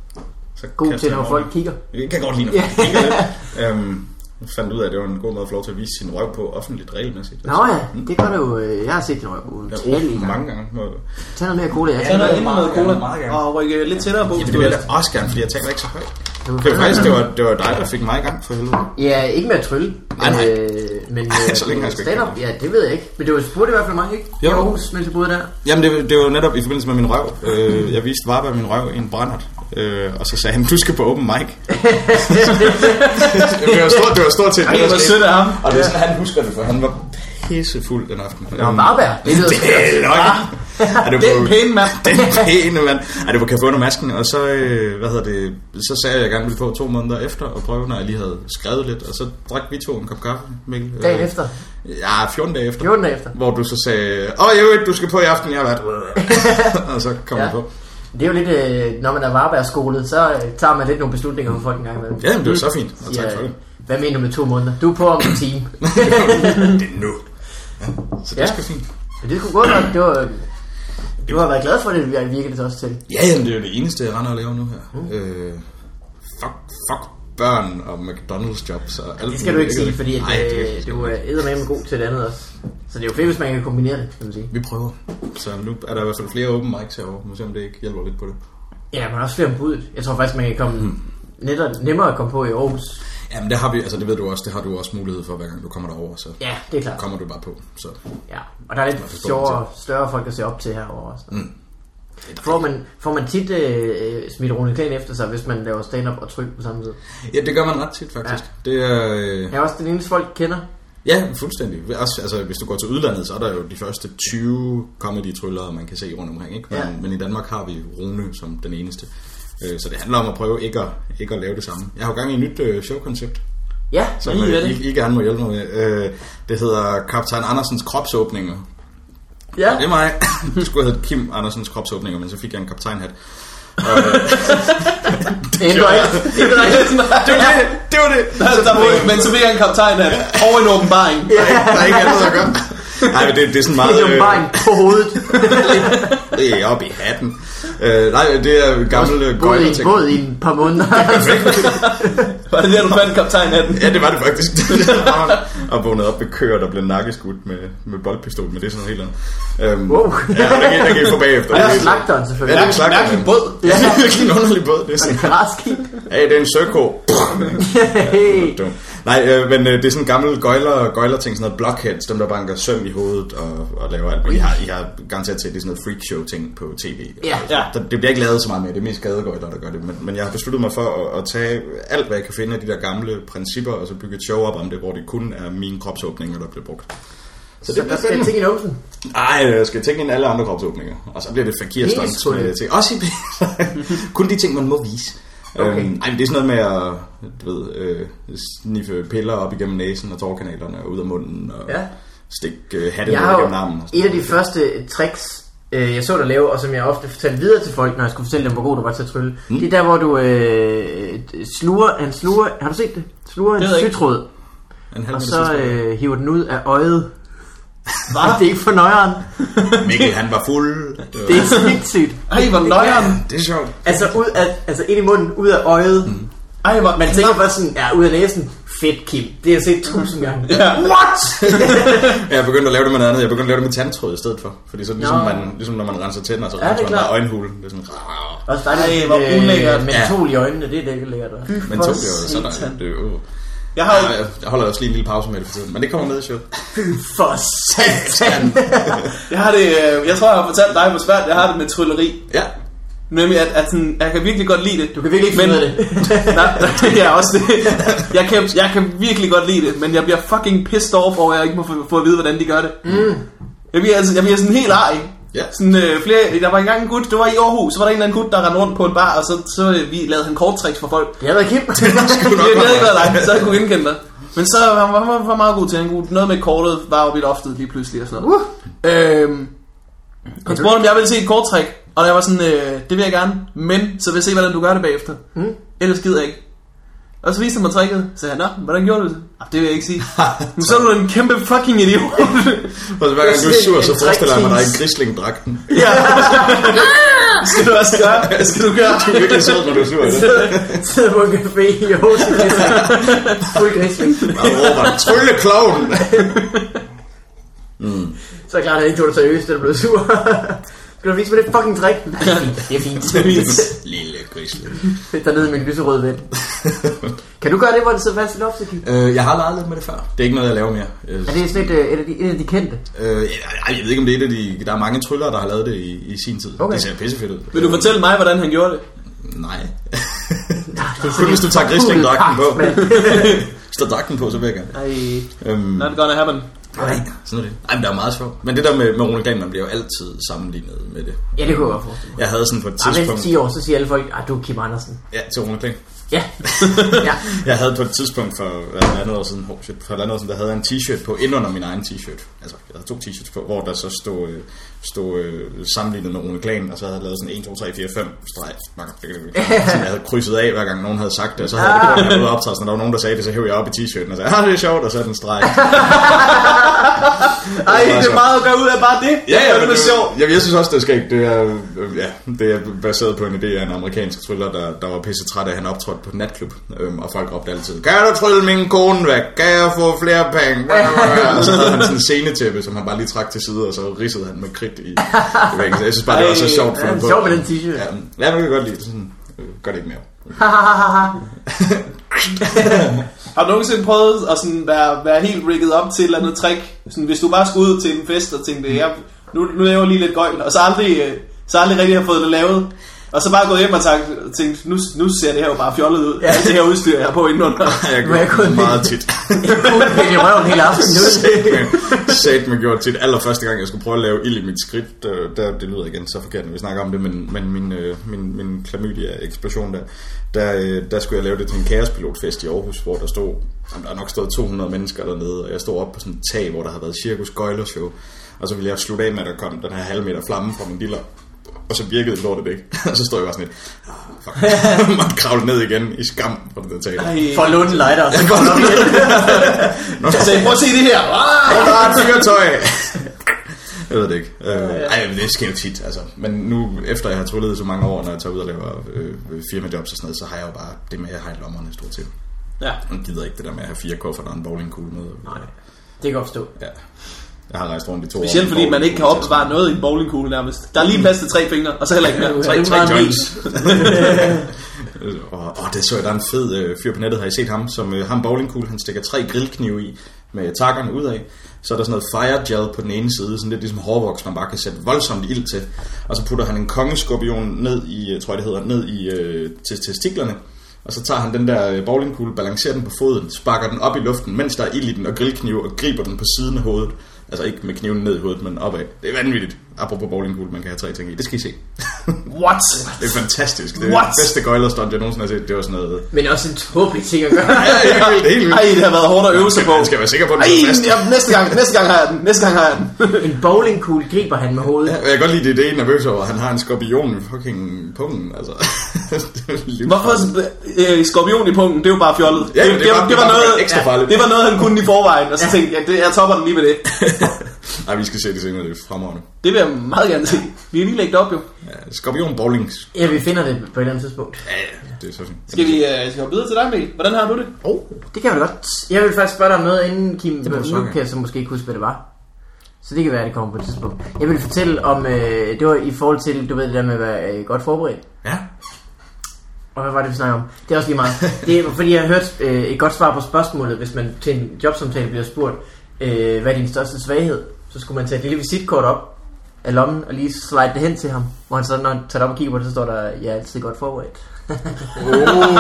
Så
God
kaster
til,
jeg
når
mig over
folk
det.
kigger.
Jeg kan godt
<laughs>
lide, når folk kigger lidt. Øhm, jeg fandt ud af, at det var en god måde at få lov til at vise sin røv på offentligt regelmæssigt. Altså,
Nå ja, det gør det jo. øh, Jeg har set din røv på
Jeg
utallige
har
gange.
oh, mange gange. Må-
Tag noget mere cola. Jeg
Tag
kan
noget
ikke.
endnu noget cola
meget gerne.
og rykke lidt tættere på.
Ja, det vil jeg da også gerne, fordi jeg taler ikke så højt.
Det var
Det var
fandme-
faktisk det var, det var dig, der fik mig i gang for helvede.
Ja, ikke med at trylle.
Nej, nej.
Øh, men øh,
<laughs> Så længe har jeg sgu ikke
stand-up, ja, det ved jeg ikke. Men det var spurgt i hvert fald mig, ikke?
Jo.
Jo. Aarhus, mens jeg boede der.
Jamen, det, det var netop i forbindelse med min røv. Øh, jeg viste Varberg min røv i en brændert. Øh, og så sagde han, du skal på open mic. det, var stort, det var stort set.
Ej, hvor sødt
<laughs>
af ham.
Og det er sådan, han husker det, for han var pissefuld den aften. <laughs> Det var
Varberg, det lyder
det er nok. Ja, <laughs> det
Det er
var-
en pæn mand.
den pæne mand. Ej, det var kaffe under masken, og så, øh, hvad hedder det, så sagde jeg, at jeg gerne ville på to måneder efter og prøve, når jeg lige havde skrevet lidt, og så drak vi to en kop kaffe, Mikkel. Øh,
Dagen efter.
Ja, 14 dage efter.
14 dage efter.
Hvor du så sagde, åh, jeg ved, du skal på i aften, jeg
<laughs>
har været. og så kom ja.
Ja.
jeg på.
Det er jo lidt, øh, når man er varbergskolet, så øh, tager man lidt nogle beslutninger for folk en gang imellem.
Ja, men det var så fint, og tak
Siger, øh,
for det.
Hvad mener du med to måneder? Du er på om en
<laughs>
time.
Det er nu. Ja, så det
Ja.
ja. skal fint.
Men det skulle gå godt. Det var, øh, du har været glad for det, vi- virker det også til.
Ja, jamen, det er jo det eneste, jeg render og laver nu her.
Uh.
Mm. Øh, fuck, fuck børn og McDonald's jobs og alt
Det skal du ikke sige,
muligt.
fordi at,
Nej, det skal
øh, du er eddermame god til det andet også. Så det er jo fedt, hvis man kan kombinere det, kan man sige.
Vi prøver. Så nu er der i hvert fald flere open mics herovre. Må se, om det ikke hjælper lidt på det.
Ja, men også flere om budet. Jeg tror faktisk, man kan komme netop, nemmere at komme på i Aarhus.
Jamen, det har vi, altså det ved du også, det har du også mulighed for, hver gang du kommer derover, så
Ja, det er klart.
kommer du bare på. Så
Ja. Og der er
Jeg
lidt
forstår
sjovere, større folk at se op til herovre også. Mm. Får man, får man tit øh, øh, smidt Rune Klan efter sig, hvis man laver stand-up og tryk på samme tid?
ja, det gør man ret tit faktisk. Ja. Det er, øh,
Jeg er også den eneste folk kender.
ja, fuldstændig. Også, altså, hvis du går til udlandet, så er der jo de første 20 comedy-tryllere, man kan se rundt omkring, ikke? Men,
Ja.
ja. men i Danmark har vi Rune som den eneste. Øh, Så det handler om at prøve ikke at, ikke at lave det samme. Jeg har jo gang i et nyt øh, showkoncept,
Ja,
som
Ih, hvad er
øh,
det?
I, I gerne må hjælpe mig med. Øh, Det hedder Kaptajn Andersens kropsåbninger.
ja.
Ja, det er mig. <laughs> Det skulle have heddet Kim Andersens kropsåbninger, men så fik jeg en kaptajnhat.
Det ændrer ikke. <laughs> Det ændrer ikke.
Det var det! Det var det!
Altså, der må- Altså, Men så bliver han kaptajn af over en åbenbaring.
Der er ikke- der er ikke andet at gøre. Nej, men det, det er sådan meget...
Det er jo bare en på hovedet.
Øh, det er oppe i hatten. Øh, nej, det er øh, gamle
Både i
gøjler
en
ting.
båd i en par måneder.
Var det der, du fandt kaptajn af den?
Ja, det var det faktisk. <laughs> og vågnede op ved køer, der blev nakkeskudt med, med boldpistol, men det er sådan noget helt andet. Øhm,
Wow.
Ja, der kan, der kan I få
<laughs>
bagefter.
Og slagteren
Ja, det
selvfølgelig.
er slagteren.
Mærkelig båd.
<laughs> Ja, det er virkelig en underlig båd. Det er sådan,
Græskib.
hey, det er en søko.
Hey.
Dum. Nej, øh, men øh, det er sådan gamle gøjler, gøjler ting, sådan noget blockheads, dem der banker søm i hovedet og, og laver alt. Men I har, I har garanteret set, det er sådan noget freakshow ting på tv.
Ja.
Ja.
Der, det bliver ikke lavet så meget mere, det er mest gadegøjler, der gør det. Men, men jeg har besluttet mig for at, at, tage alt, hvad jeg kan finde af de der gamle principper, og så bygge et show op om det, hvor det kun er mine kropsåbninger, der bliver brugt. Så
Så
det
der
bliver
skal jeg
spændende.
tænke i numsen.
Ej, jeg skal tænke ind alle andre kropsåbninger. Og så bliver det fakir
Hele
stunt
skulden.
med ting. Også i <laughs> Kun de ting, man må vise.
Okay.
Okay. Øhm, ej, men det er sådan noget med at du ved, øh, sniffe piller op igennem næsen og tårkanalerne og ud af munden og
Ja.
ja. stikke øh, hatten
Jeg
ned
har jo
igennem armen. og sådan
et af de
noget.
første tricks, øh, jeg så dig lave, og som jeg ofte fortalte videre til folk, når jeg skulle fortælle dem, hvor god du var til at trylle. Mm. Det er der, hvor du øh, sluger, han sluger, har du set det? Sluger en
Det ved jeg ikke.
sytråd,
En halv
og
så,
så øh, hiver den ud af øjet. Var <laughs> det er ikke for nøjeren?
Mikkel, han var fuld. Det, var,
Det er sindssygt.
Ej, hvor nøjeren.
det er sjovt.
Altså, ud af, altså ind i munden, ud af øjet. Mm.
Ej, hvor...
Man tænker bare sådan, ja, ud af næsen. Fedt, Kim. Det har jeg set tusind gange.
Ja.
<laughs>
What?
Jeg er begyndt at lave det med noget andet. Jeg er begyndt at lave det med tandtråd i stedet for. Fordi så er det ligesom,
Nå.
man, ligesom når man renser tænder, så
er
renser man
klart.
bare øjenhulen. Det er sådan...
Også der
Ej,
er
hvor ulækkert.
Men tol i øjnene, det er da ikke lækkert. hva'?
Men
For
tog det jo så
satan.
dejligt. Det er jo...
Jeg har jo...
Ej, Jeg holder også lige en lille pause med det for tiden. Men det kommer med i showet.
For satan.
Jeg har det... øh, Jeg tror, jeg har fortalt dig, hvor svært jeg har det med trylleri.
Ja.
Nemlig, at, at sådan, jeg kan virkelig godt lide det.
Du kan virkelig ikke finde ud af det.
<laughs> Nej, det er også det. Jeg kan, jeg kan virkelig godt lide det, men jeg bliver fucking pissed off over, at jeg ikke må få, få at vide, hvordan de gør det. Mm. Jeg bliver, altså, jeg bliver sådan helt arg.
Ja.
Sådan, øh, flere, der var engang en gut, det var i Aarhus, så var der en eller anden gut, der rendte rundt på en bar, og så, så øh, vi lavede han korttricks for folk.
Jeg har været Kim.
Kunne nok
Det
godt
havde ikke
være.
været dig, så jeg kunne genkende dig. Men så var han var, var, var meget god til, han kunne noget med kortet, var oppe i loftet lige pludselig og sådan noget. Uh. Øhm, han spurgte, om jeg ville se et korttræk, og jeg var sådan, øh, det vil jeg gerne, men så vil jeg se, hvordan du gør det bagefter. Mm. Ellers gider jeg ikke. Og så viste han mig tricket, så sagde han, nå, hvordan gjorde du det? Ah, det vil jeg ikke <laughs> sige. Men så er du en kæmpe fucking idiot.
Og så hver gang du
Det
er
er
sur,
en
så forestiller jeg mig, at der er en
træktis.
grislingdragten.
<laughs> ja. Det <laughs> skal du også gøre. Det skal du gøre.
Du er virkelig sød, når du er sur i det.
<laughs> Sidder på en café i Aarhus. i Grisling. Fuld grisling.
Og råber, trylle kloven!
Så er det klart, at han ikke tog det seriøst, da du blev sur. Skal du vise mig det fucking trick? Nej, det er fint. Det er fint.
Lille grisling.
Fedt dernede i min lyserøde ven. Kan du gøre det, hvor det sidder fast i loftet, Kim?
Øh, jeg har leget lidt med det før. Det er ikke noget, jeg laver mere. Øh,
Er det sådan et, øh, et, af de, et af de kendte?
øh, jeg, jeg ved ikke, om det er et af de... Der er mange tryllere, der har lavet det i, i sin tid.
Okay.
Okay. Det ser pissefedt ud.
Vil du fortælle mig, hvordan han gjorde det?
Nej.
Det er
Kun hvis du tager grislingdragten på. <laughs>
Mand.
Hvis der er dragten på, så vil jeg gerne.
Ej,
Øhm,
not gonna happen.
nej, sådan er det. Ej, men det er meget sjovt. Men det der med, med Rune Dahl, man bliver jo altid sammenlignet med det.
Ja, det kunne jeg godt forestille mig.
Jeg havde sådan på et
Ej, men efter
tidspunkt...
10 år, så siger alle folk, at du er Kim Andersen.
Ja, til Rune Dahl.
Ja. ja.
Jeg havde på et tidspunkt for hvad, halvandet år siden, oh shit, for halvandet år siden, der havde jeg en t-shirt på, ind under min egen t-shirt. Altså, jeg havde to t-shirts på, hvor der så stod, øh, stod øh, sammenlignet med Rune Glan, og så havde jeg lavet sådan 1, 2, 3, 4, 5 streg. Som jeg havde krydset af, hver gang nogen havde sagt det, og så havde
Ah.
jeg det på, når jeg var ude at optræde, så når der var nogen, der sagde det, så hævde jeg op i t-shirten og sagde, ah, det er sjovt, og så er den streg.
Ej, det er meget at gøre ud af bare det.
Ja, ja,
det var sjovt.
Jeg, jeg synes også, det er skægt. Det er, øh, ja, det er baseret på en idé af en amerikansk thriller, der, der var pisse træt af, at han optrådte på en natklub. Øhm, og folk råbte altid, kan du trylle min kone væk? Kan jeg få flere penge? og så havde han sådan en scenetæppe, som han bare lige trak til side, og så ridsede han med kridt i, i væggen. Så Jeg synes bare, det var så
Ej,
sjovt. fundet
ja,
på.
sjovt med den t-shirt.
Ja, ja, jeg kan godt lide det. Sådan, øh, gør det ikke mere.
Har du nogensinde prøvet at sådan være, være helt rigget op til et eller andet trick? Sådan, hvis du bare skulle ud til en fest og tænkte, ja, nu, nu laver jeg lige lidt gøjl, og så aldrig, øh, så aldrig rigtig har fået det lavet. Og så bare gået hjem og sagt, tænkt, nu, nu ser det her jo bare fjollet ud. Ja. Det her udstyr, jeg har på
<laughs>
indenunder.
Jeg
Må jeg
gør
kun-
det meget tit.
Fuld i røven hele aftenen. Nu.
Sat mig gjort tit. Allerførste gang, jeg skulle prøve at lave ild i mit skridt, øh, der, det lyder igen så forkert, når vi snakker om det, men, men min, øh, min, min klamydia-eksplosion der, der, øh, der skulle jeg lave det til en kaospilotfest i Aarhus, hvor der stod, jamen, der er nok stået 200 mennesker dernede, og jeg stod op på sådan et tag, hvor der havde været cirkus gøjlershow, og så ville jeg slutte af med, at der kom den her halvmeter flamme fra min diller, og så virkede lortet ikke. <laughs> Og så stod jeg bare sådan lidt, "Ah, fuck, <laughs> måtte kravle ned igen i skam på det der teater.
For at låne en lighter, og så går den op igen.
Jeg sagde, prøv at se det her. Ah!
Og der er et fyrtøj. Jeg ved det ikke. Øh, ej, men det sker jo tit, altså. Men nu, efter jeg har tryllet i så mange år, når jeg tager ud og laver øh, firmajobs og sådan noget, så har jeg jo bare det med, at jeg har i lommerne stort set.
Ja.
Jeg gider ikke det der med at have fire kufferter og en bowlingkugle med. Nej.
Det kan godt forstå.
Ja. Jeg har rejst rundt i to år.
Specielt fordi man ikke kan opbevare noget i en bowlingkugle nærmest. Der er lige plads til tre fingre, og så heller ikke mere. Tre,
Det er
tre
meget
joints.
Øh, <laughs> Og, og det så jeg, der er en fed øh, fyr på nettet, har I set ham, som øh, ham bowlingkugle, han stikker tre grillknive i med takkerne ud af. Så er der sådan noget fire gel på den ene side, sådan lidt ligesom hårvoks, man bare kan sætte voldsomt ild til. Og så putter han en kongeskorpion ned i, øh, tror jeg det hedder, ned i øh, til testiklerne. Og så tager han den der øh, bowlingkugle, balancerer den på foden, sparker den op i luften, mens der er ild i den, og grillknive, og griber den på siden af hovedet. Altså ikke med kniven ned i hovedet, men opad. Det er vanvittigt. Apropos bowlingkugle, man kan have tre ting i. Det skal I se. <laughs>
What?
Det er fantastisk. Det er
What?
det bedste gøjlerstunt, jeg nogensinde har set. Det var sådan noget...
Men også en tåbelig ting at gøre.
<laughs> Ja, helt vildt, helt vildt.
Ej, det har været hårdt at øve sig på.
Man skal være sikker på, at
Ej,
den er fast.
ja, næste gang, næste gang har jeg den. Næste gang har jeg den.
En bowlingkugle griber han med hovedet.
Jeg kan godt lide det, det er en nervøs over. Han har en skorpion i fucking pungen, altså. <laughs> Det er livsfarligt.
Hvorfor øh, skorpion i punkten? Det er jo bare fjollet.
Ja, det, det, var, det var noget ekstra
ja,
farligt.
det var noget, han kunne i forvejen, og så tænkte jeg, det, jeg topper den lige med det.
Nej, vi skal se det senere, det er fremragende.
Det vil jeg meget gerne se. Vi er lige lægget op, jo.
Ja, skorpion bowlings.
Ja, vi finder det på et eller andet tidspunkt.
Ja, ja, det er så fint.
Skal vi, øh, skal vi videre til dig, Mikkel? Hvordan har du det?
Oh,
Det kan vi da godt. Jeg vil faktisk spørge dig om noget, inden Kim... Det
må du så
nu
gerne.
kan jeg så måske ikke huske, hvad det var. Så det kan være, at det kommer på et tidspunkt. Jeg vil fortælle om... Øh, det var i forhold til, du ved det der med at være øh, godt forberedt.
ja.
Og hvad var det, vi snakkede om? Det er også lige
<laughs>
meget. Det er, fordi jeg har hørt øh, et godt svar på spørgsmålet, hvis man til en jobsamtale bliver spurgt, øh, hvad er din største svaghed? Så skulle man tage et lille visitkort op, af lommen og lige slide det hen til ham. Hvor han så, når han tager det op og kigger på det, så står der, jeg er altid godt forberedt.
Oh.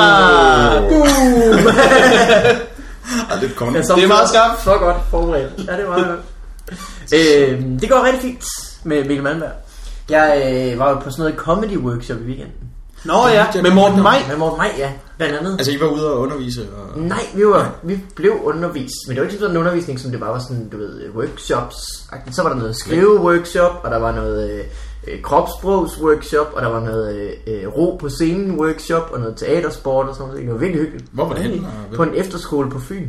Ej, det kommer
Ja,
ja,
så
Det er meget
Altså, så-
skarpt.
Så godt forberedt. Ja, det er meget godt. øhm, det går rigtig fint med Mikkel Malmberg. Jeg øh, var jo på sådan noget comedy workshop i weekenden.
Nå ja, med Morten Maj.
Med Morten Maj, ja. Blandt andet.
Altså, I var ude og undervise, og...
Nej, vi, var, vi blev undervist, men det var ikke sådan en undervisning, som det bare var sådan, du ved, øh, workshops -agtigt. Så var der noget skrive-workshop, og der var noget øh, øh, kropssprogs-workshop, og der var noget øh, øh, ro på scenen-workshop, og noget teatersport og sådan noget. Det var virkelig hyggeligt.
Hvor var det henne? Og-
På en efterskole på Fyn.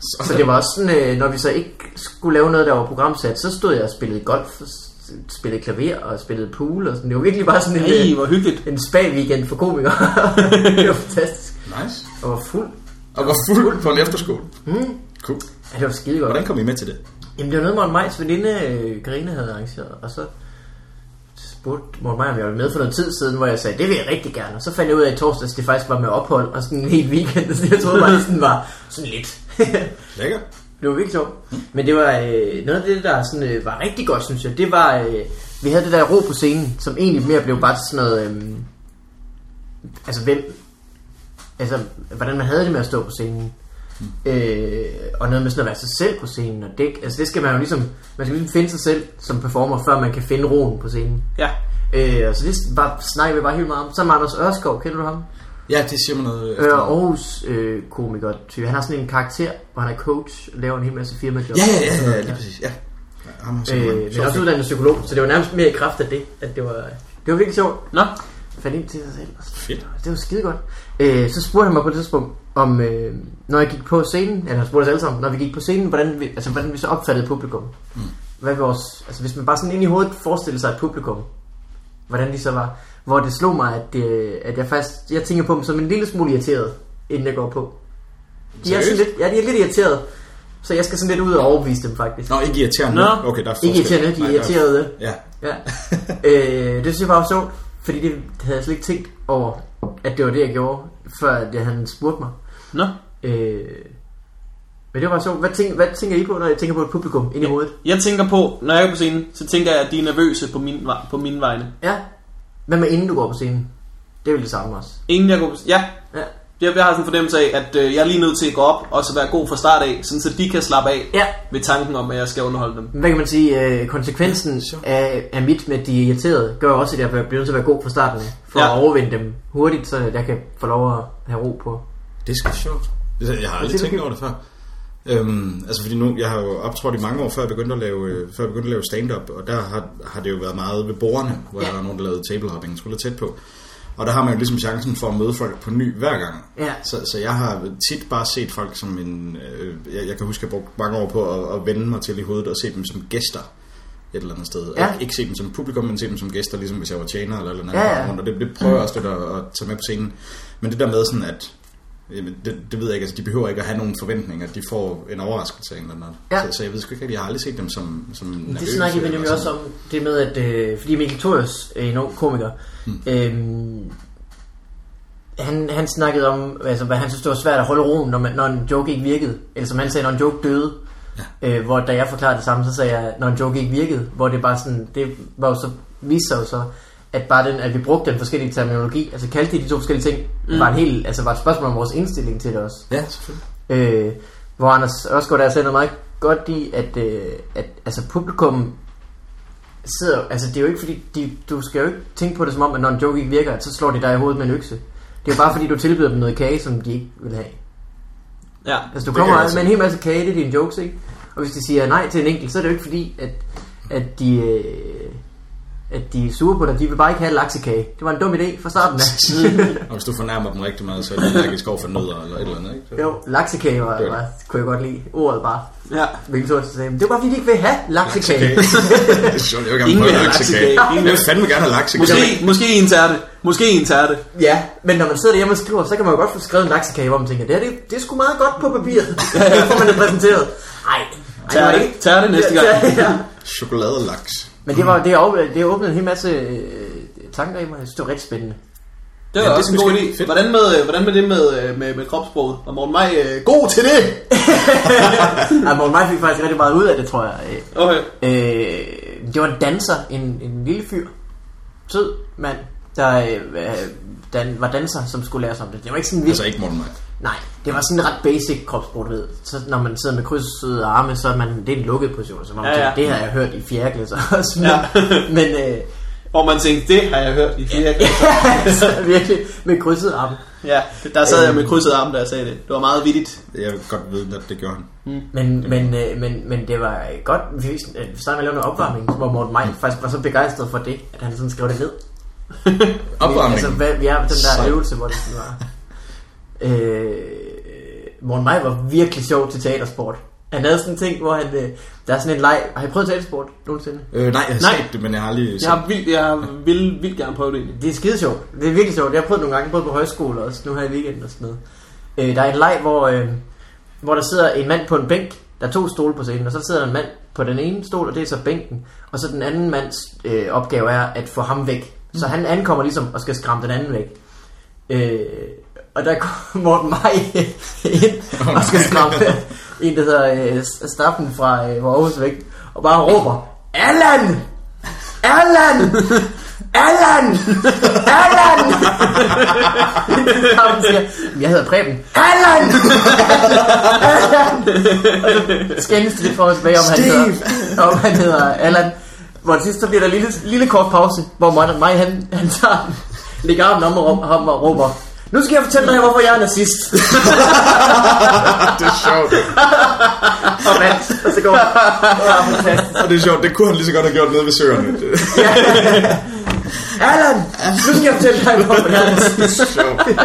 Så det var også sådan, øh, når vi så ikke skulle lave noget, der var programsat, så stod jeg og spillede golf, og s- spillede klaver og spillede pool og sådan. Det var virkelig bare sådan en,
Ej,
øh,
hvor hyggeligt.
en spa-weekend for komikere. <laughs> det var fantastisk.
Nice.
Og var fuld.
Og var fuld på en efterskole.
Hmm.
Mm. Cool.
Ja, det var skide godt.
Hvordan kom I med til det?
Jamen det var noget, Morten Majs veninde, øh, Karina havde arrangeret, og så spurgte Morten Maj, om jeg ville med for noget tid siden, hvor jeg sagde, det vil jeg rigtig gerne. Og så fandt jeg ud af i torsdags, det faktisk var med ophold og sådan en hel weekend, <laughs> så jeg troede bare, det sådan var sådan lidt. <laughs>
Lækker.
det var virkelig sjovt. Men det var øh, noget af det, der sådan, øh, var rigtig godt, synes jeg. Det var, øh, vi havde det der ro på scenen, som egentlig mere blev bare til sådan noget, øh, altså hvem, altså hvordan man havde det med at stå på scenen.
Mm.
Øh, og noget med sådan at være sig selv på scenen og dæk. Altså det skal man jo ligesom Man skal ligesom finde sig selv som performer Før man kan finde roen på scenen
Ja.
øh, og Så det var, snakker vi bare helt meget om Så er Anders Ørskov, kender du ham?
Ja, det siger mig noget.
Øh,
efter.
Aarhus øh, komiker type. Han har sådan en karakter, hvor han er coach og laver en hel masse firmajobs.
Ja, ja, ja, ja, lige præcis. Ja. Ja, ham har jeg set.
Øh, men også uddannet psykolog, så det var nærmest mere i kraft af det, at det var, det var virkelig sjovt.
Nå,
Jeg fandt ind til sig selv.
Fedt.
Det var skide godt. Øh, så spurgte han mig på et tidspunkt, om øh, når jeg gik på scenen, eller han spurgte os alle sammen, når vi gik på scenen, hvordan vi, altså, hvordan vi så opfattede publikum. Mm. Hvad vores, altså, hvis man bare sådan ind i hovedet forestillede sig et publikum, hvordan de så var, hvor det slog mig, at, øh, at jeg faktisk, jeg tænker på dem som en lille smule irriteret, inden jeg går på. De er, sådan
Seriøst?
lidt, ja, de er lidt irriteret, så jeg skal sådan lidt ud og overbevise dem faktisk.
Nå, ikke irriterende.
Nå,
okay, der er
Ikke
forskel.
irriterende, de
Nej,
er
der
irriterede.
Ja.
Ja.
<laughs>
øh, det synes jeg bare var sjovt, fordi det havde jeg slet ikke tænkt over, at det var det, jeg gjorde, før at jeg, han spurgte mig.
nå.
Øh, men det var bare sjovt. Hvad, tænker, hvad tænker I på, når jeg tænker på et publikum ind i hovedet?
Jeg tænker på, når jeg er på scenen, så tænker jeg, at de er nervøse på min, vej- på mine vegne.
Ja. Hvad med inden du går på scenen? Det vil det samme også.
Inden jeg går på Ja,
Ja.
jeg, jeg har sådan en fornemmelse af, at øh, jeg er lige nødt til at gå op og så være god fra start af, sådan så de kan slappe af
ja.
ved tanken om, at jeg skal underholde dem.
Men Hvad kan man sige? Øh, konsekvensen af, af mit med, at de er irriterede, gør også, at jeg bliver nødt til at være god fra starten. af, For
Ja.
ja. at overvinde dem hurtigt, så jeg kan få lov at have ro på.
Det er sgu sjovt. Det- Jeg har aldrig
siger du?
tænkt over det før. Øhm, altså fordi nu, jeg har jo optrådt i mange år, før jeg begyndte at lave, øh, før jeg begyndte at lave stand-up, og der har, har det jo været meget ved bordene, hvor
Ja.
der er nogen, der lavede table hopping, skulle tæt på. Og der har man jo ligesom chancen for at møde folk på ny hver gang.
Ja.
Så, så jeg har tit bare set folk som en... Øh, jeg, jeg kan huske, at jeg brugte mange år på at, at vende mig til i hovedet og se dem som gæster et eller andet sted.
Ja.
Ikke, ikke se dem som publikum, men se dem som gæster, ligesom hvis jeg var tjener eller, eller andet.
Ja, ja. Mm.
rundt, Og det, det prøver jeg også lidt at, at tage med på scenen. Men det der med sådan, at Jamen, det, det ved jeg ikke. Altså, de behøver ikke at have nogen forventninger. De får en overraskelse af en eller anden.
Ja.
Ja. Så, så jeg ved sgu ikke rigtig. Jeg har aldrig set dem som, som
Det
nervøse
snakker vi
eller
nemlig
sådan.
også om, det med, at øh, fordi Mikkel Thorius er en ung komiker, mm. øhm, han, han snakkede om, altså, hvad han synes, det var svært at holde roen, når, man, når en joke ikke virkede. Eller som han sagde, når en joke døde. Ja. Øh, hvor da jeg forklarede det samme, så sagde jeg, når en joke ikke virkede, hvor det bare sådan, det var jo så, viste sig jo så, at bare den, at vi brugte den forskellige terminologi, altså kaldte de de to forskellige ting, mm. var, en hel, altså, var et spørgsmål om vores indstilling til det også.
Ja, selvfølgelig.
Øh, hvor Anders Ørsgaard der sagde noget meget godt i, at, øh, at altså, publikum sidder, altså det er jo ikke fordi, de, du skal jo ikke tænke på det som om, at når en joke ikke virker, at så slår de dig i hovedet med en økse. Det er jo bare fordi, du tilbyder dem noget kage, som de ikke vil have.
Ja.
Altså du
Det kan
kommer
jeg
med en hel masse kage, det er dine jokes, ikke? Og hvis de siger nej til en enkelt, så er det jo ikke fordi, at, at de... Øh, at de er sure på dig, de vil bare ikke have laksekage. Det var en dum idé fra starten
<laughs>
af.
Og hvis du fornærmer dem rigtig meget, så er det allergisk over for nødder eller et eller andet. Ikke? Så-
jo, laksekage var, var, kunne jeg godt lide. Ordet bare.
ja.
Hvilket så sagde, "Men det er bare fordi, de ikke vil have laksekage.
<laughs> Laksekage.
<laughs>
det er sjovt. Jeg vil gerne
Ingen
prøve
vil have
laksekage.
laksekage. Ingen
Jeg vil fandme gerne have laksekage.
Måske, måske en tærte. Måske en tærte.
Ja, men når man sidder derhjemme og skriver, så kan man jo godt få skrevet en laksekage, hvor man tænker, det, her, det, det er sgu meget godt på papiret. <laughs> Så får man det præsenteret. Ej, ej, det var
Tærte,
ikke.
tærte næste gang.
<laughs> Ja, ja.
Chokoladelaks.
Men det, var, det, åbnede, det åbnede en hel masse øh, tanker i mig. Jeg synes, det var rigtig spændende.
Det var
Ja, det
også en
synes
god
jeg er
idé.
fedt.
Hvordan med, øh, hvordan med det med, øh, med, med kropssproget? Og Morten Maj, øh, god til det!
Ej, Morten Maj fik faktisk rigtig meget ud af det, tror jeg. Øh,
Okay.
Øh, øh, det var en danser, en, en lille fyr, sød mand, der øh, øh, dan, var danser, som skulle lære sig om det. Det var ikke sådan vildt.
Altså ikke Morten Maj.
Nej, det var sådan en ret basic kropsprog, du ved. Så når man sidder med krydsede arme, så er man, det er en lukket position. Så man
Ja,
ja, ja.
ja.
det har jeg hørt i fjerde klasse <laughs> også. Men,
Ja.
ja. men øh, <laughs>
Og man tænkte, det har jeg hørt i flere ja.
altså, virkelig med krydsede arme.
ja, der sad jeg med krydset arm, da jeg sagde det. Det var meget vittigt.
Jeg vil godt vide, at det gjorde han.
Men, men, øh, men, men det var øh, godt, vi, øh, vi startede med at lave en opvarmning, hvor Morten Maj faktisk var så begejstret for det, at han sådan skrev det ned.
Opvarmning.
Altså, hvad, vi har den der
Sejt.
øvelse, hvor det sådan var... Øh, Morten Maj var virkelig sjov til teatersport. Han havde sådan en ting, hvor han... Øh, der er sådan en leg... Har I prøvet teatersport nogensinde?
Øh, nej, jeg har
Nej.
set det, men jeg har aldrig set
Jeg, har vildt, jeg har vil, vildt gerne prøve det egentlig.
Det er skide sjovt. Det er virkelig sjovt. Jeg har prøvet nogle gange, både på højskole også, nu her i weekenden og sådan noget. Øh, der er en leg, hvor, øh, hvor der sidder en mand på en bænk. Der er to stole på scenen, og så sidder der en mand på den ene stol, og det er så bænken. Og så den anden mands øh, opgave er at få ham væk. Så han ankommer ligesom og skal skræmme den anden væk. Øh, og der kommer <laughs> Morten Maj ind og skal skræmme en, der hedder øh, Staffen fra, øh, fra Aarhus væk, og bare råber, Allan! Allan! Allan! Allan! <laughs> Staffen siger, "Men jeg hedder Preben. Allan! <laughs> Allan! Og så skændes de lidt for os bag, om han hedder, om han hedder Allan. Hvor til sidst, så bliver der en lille, lille kort pause, hvor Morten Maj, han, han tager, lægger armen om og råb- ham og råber, nu skal jeg fortælle dig, hvorfor jeg er nazist.
<laughs> det er sjovt.
og vandt, og så går han. Det var fantastisk.
Og det er sjovt, det kunne han lige så godt have gjort nede ved søerne. Øh, Det
Allan, nu skal jeg fortælle dig, hvorfor jeg er nazist.
er sjovt.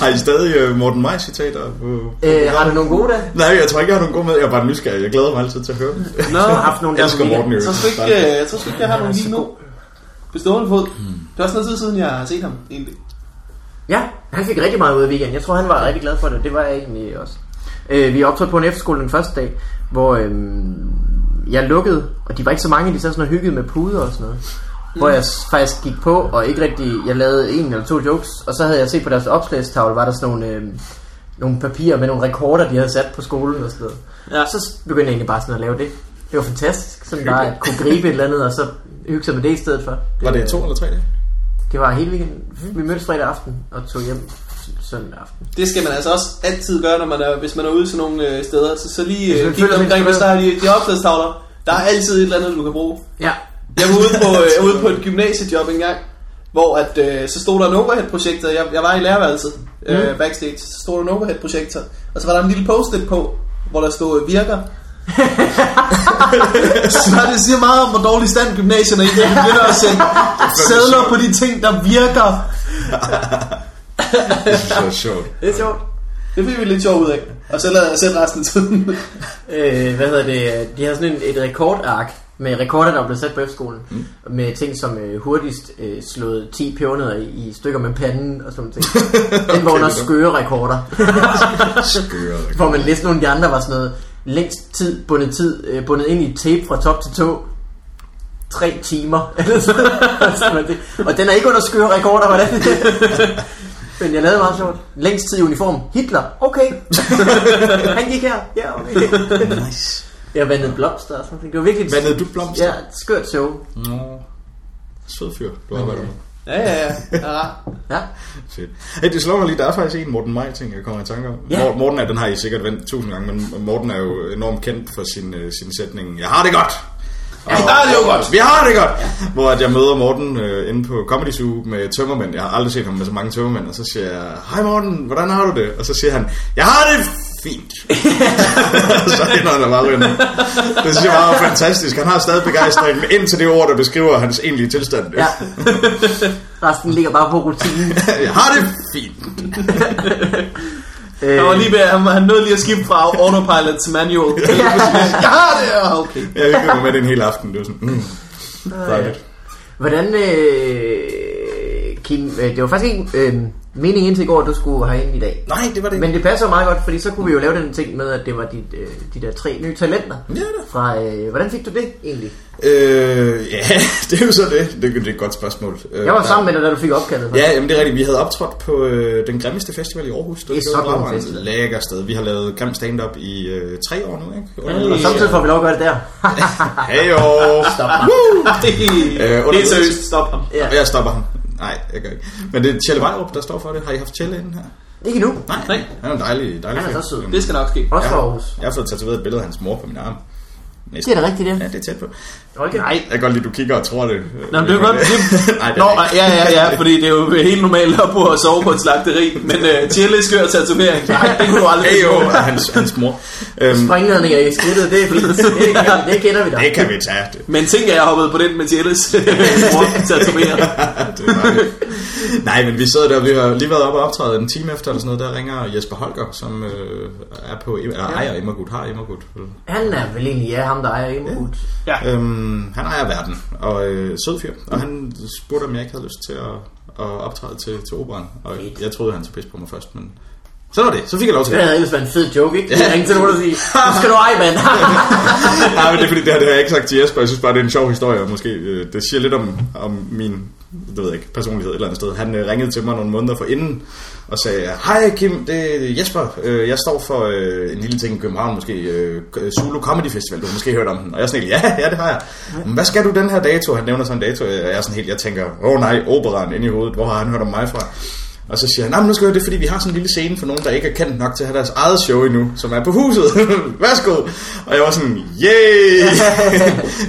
Har I stadig øh, Morten Maj citater på?
Øh, har du nogle gode dage?
Nej, jeg tror ikke, jeg har nogen god med. Jeg er bare nysgerrig. Jeg glæder mig altid til at høre dem.
Nå,
Jeg har haft nogle
Jeg elsker
dage.
Morten i
jeg tror sgu ikke, øh, jeg, tror sgu ikke, jeg har nogen lige nu. På stående fod. Det er også noget tid siden, jeg har set ham egentlig.
Ja, han fik rigtig meget ud af weekenden. Jeg tror, han var rigtig glad for det. Det var jeg egentlig også. Øh, vi optrådte på en efterskole den første dag, hvor øhm, jeg lukkede, og de var ikke så mange, de sad sådan og hyggede med puder og sådan noget. Hvor jeg s- faktisk gik på, og ikke rigtig, jeg lavede en eller to jokes, og så havde jeg set på deres opslagstavle, var der sådan nogle, øhm, nogle papirer med nogle rekorder, de havde sat på skolen og sådan noget.
Ja.
Og så begyndte jeg egentlig bare sådan at lave det. Det var fantastisk, sådan bare at kunne gribe et eller andet, og så hygge sig med det i stedet for.
Var det to eller tre dage?
Det var hele weekenden. Vi mødtes fredag aften og tog hjem s- søndag aften.
Det skal man altså også altid gøre, når man er, hvis man er ude til nogle øh, steder. Så, så lige
Hvis
øh,
man
kigge
føler, man
omkring,
skal
hvis der er de, de opslagstavler. Der er altid et eller andet, du kan bruge.
Ja.
Jeg var ude på, øh, jeg var ude på et gymnasiejob engang, hvor at, øh, så stod der en overhead-projektor. Jeg, jeg var i lærerværelset øh, backstage, så stod der en overhead-projektor. Og så var der en lille post-it på, hvor der stod øh, virker. <laughs> så det siger meget om, hvor dårlig stand gymnasierne er i. De begynder at sende sædler på de ting, der virker.
Det er
<laughs>
sjovt.
Det er sjovt.
Det fik vi lidt sjovt ud af. Og så lader jeg selv resten af tiden.
Øh, hvad hedder det? De havde sådan en, et rekordark med rekorder, der blev sat på F-skolen. Mm. Med ting som øh, hurtigst øh, slået 10 pebernødder i, i stykker med panden og
<laughs>
sådan noget. Den var under
det er
skøre rekorder.
Skøre.
Hvor man læste nogle af de andre var sådan noget længst tid, bundet, tid, øh, bundet ind i tape fra top til tå. Tre timer. <laughs> eller sådan noget. og den er ikke under skøre rekorder, hvordan? <laughs> Men jeg lavede meget sjovt. Længst tid i uniform. Hitler. Okay. <laughs> Han gik her. Ja, okay.
Nice.
Jeg vandede blomster og sådan noget. Det var virkelig...
Vandede du blomster?
Ja, et skørt show.
Nå. Sød fyr, du arbejder med.
ja, ja, ja. ja.
Ja.
Fedt. Hey, det slår mig lige, der er faktisk en Morten Maj ting, jeg kommer i tanke om.
Ja.
Ja. Morten er, den har I sikkert vendt tusind gange, men Morten er jo enormt kendt for sin, øh, sin sætning, jeg har det godt! Og,
vi har det jo godt.
Vi har det godt! Ja. Hvor at jeg møder Morten øh, inde på Comedy Zoo med tømmermænd. Jeg har aldrig set ham med så mange tømmermænd. Og så siger jeg, hej Morten, hvordan har du det? Og så siger han, jeg har det
<laughs>
fint. så ender han da bare ryger ned. Det synes jeg var fantastisk. Han har stadig begejstring ind til det ord, der beskriver hans egentlige tilstand.
<laughs> ja. Resten ligger bare på rutinen.
<laughs> jeg har det fint.
Øh,
Han var lige ved, han, han nåede lige at skifte fra autopilot til manual. <laughs> jeg har det! Ja, Ah, okay.
Jeg ikke med det en hel aften. Det var sådan, mm, dejligt.
Hvordan, øh, Kim, øh, det var faktisk en, øh, Meningen indtil i går, at du skulle herind i dag.
Nej, det var det.
Men det passer jo meget godt, fordi så kunne vi jo lave den ting med, at det var dit, øh, de der tre nye talenter.
Ja, da.
Fra, øh, hvordan fik du det egentlig?
Øh, ja, <laughs> det er jo så det. Det, det er et godt spørgsmål. Øh,
Jeg var
der-
sammen med dig, da du fik opkaldet.
Ja, jamen det er rigtigt. Vi havde optrådt på øh, den grimmeste festival i Aarhus. Det,
er så grim
var en
festival.
lækker sted. Vi har lavet grim stand-up i øh, tre år nu, ikke?
Hey.
Og samtidig får vi lov at gøre det der.
Hey, jo. Stop ham. Øh, under-
Helt seriøst, stop ham.
Ja.
Jeg stopper ham. Nej, jeg gør ikke. Men det er Tjelle Vejrup, der står for det. Har I haft Tjelle inden her?
Ikke nu.
Nej,
Nej.
Han er en dejlig, dejlig
Han er
fyr.
så sød.
Det skal nok ske.
Også fra
Ja.
Aarhus.
Jeg har fået tatoveret et billede af hans mor på min arm. Næsten.
Det er da rigtigt, det.
Ja, det er tæt på.
Okay.
Nej.
Jeg kan godt lide, du kigger og tror det.
Nå, men det er godt. Det...
<laughs> Nej, det er
Nå,
det ikke.
ja,
<laughs>
ja, ja, fordi det er jo helt normalt at på at sove på et slagteri. Men uh, Tjelle skør tatovering. Nej, det kunne du aldrig
Hey, jo,
finde på.
og hans, hans mor. Øhm,
Springladninger i skridtet, det er fint. Det, det, det kender vi da.
det kan vi tage. Det,
Men tænk, at jeg hoppede på den med
<laughs>
Tjelles mor tatoveret.
det er dejligt. Nej, men vi sad der, vi har lige været oppe og optræde en time efter, eller sådan noget, der ringer Jesper Holger, som øh, er på, eller ejer Immergut, har Immergut. vel?
Han er vel egentlig ja, ham der ejer Immerhut.
Ja.
Øhm, han ejer verden, og øh, sød fyr. Og han spurgte, om jeg ikke havde lyst til at, at optræde til, til operan. Og
Fedt.
jeg troede, han tog pis på mig først, men så var det. Så fik jeg lov til
Det
det.
havde ellers været en fed joke, ikke? Ja. Ringe til nogen og sige, nu skal du eje, mand. <laughs>
<laughs> Nej, men det er fordi, det her det har jeg ikke sagt til Jesper. Jeg synes bare, det er en sjov historie, og måske øh, det siger lidt om, om min det ved jeg ikke, personlighed et eller andet sted. Han øh, ringede til mig nogle måneder for inden og sagde, hej Kim, det er Jesper. Øh, jeg står for øh, en lille ting i København, måske øh, Zulu Comedy Festival. Du har måske hørt om den. Og jeg er sådan helt, ja, ja, det har jeg. Men hvad skal du den her dato? Han nævner sådan en dato, og jeg er sådan helt, jeg tænker, åh oh, nej, operan inde i hovedet. Hvor har han hørt om mig fra? Og så siger han, nej, men nu skal jeg høre det, fordi vi har sådan en lille scene for nogen, der ikke er kendt nok til at have deres eget show endnu, som er på huset. <laughs> Værsgo! Og jeg var sådan, <laughs> yay!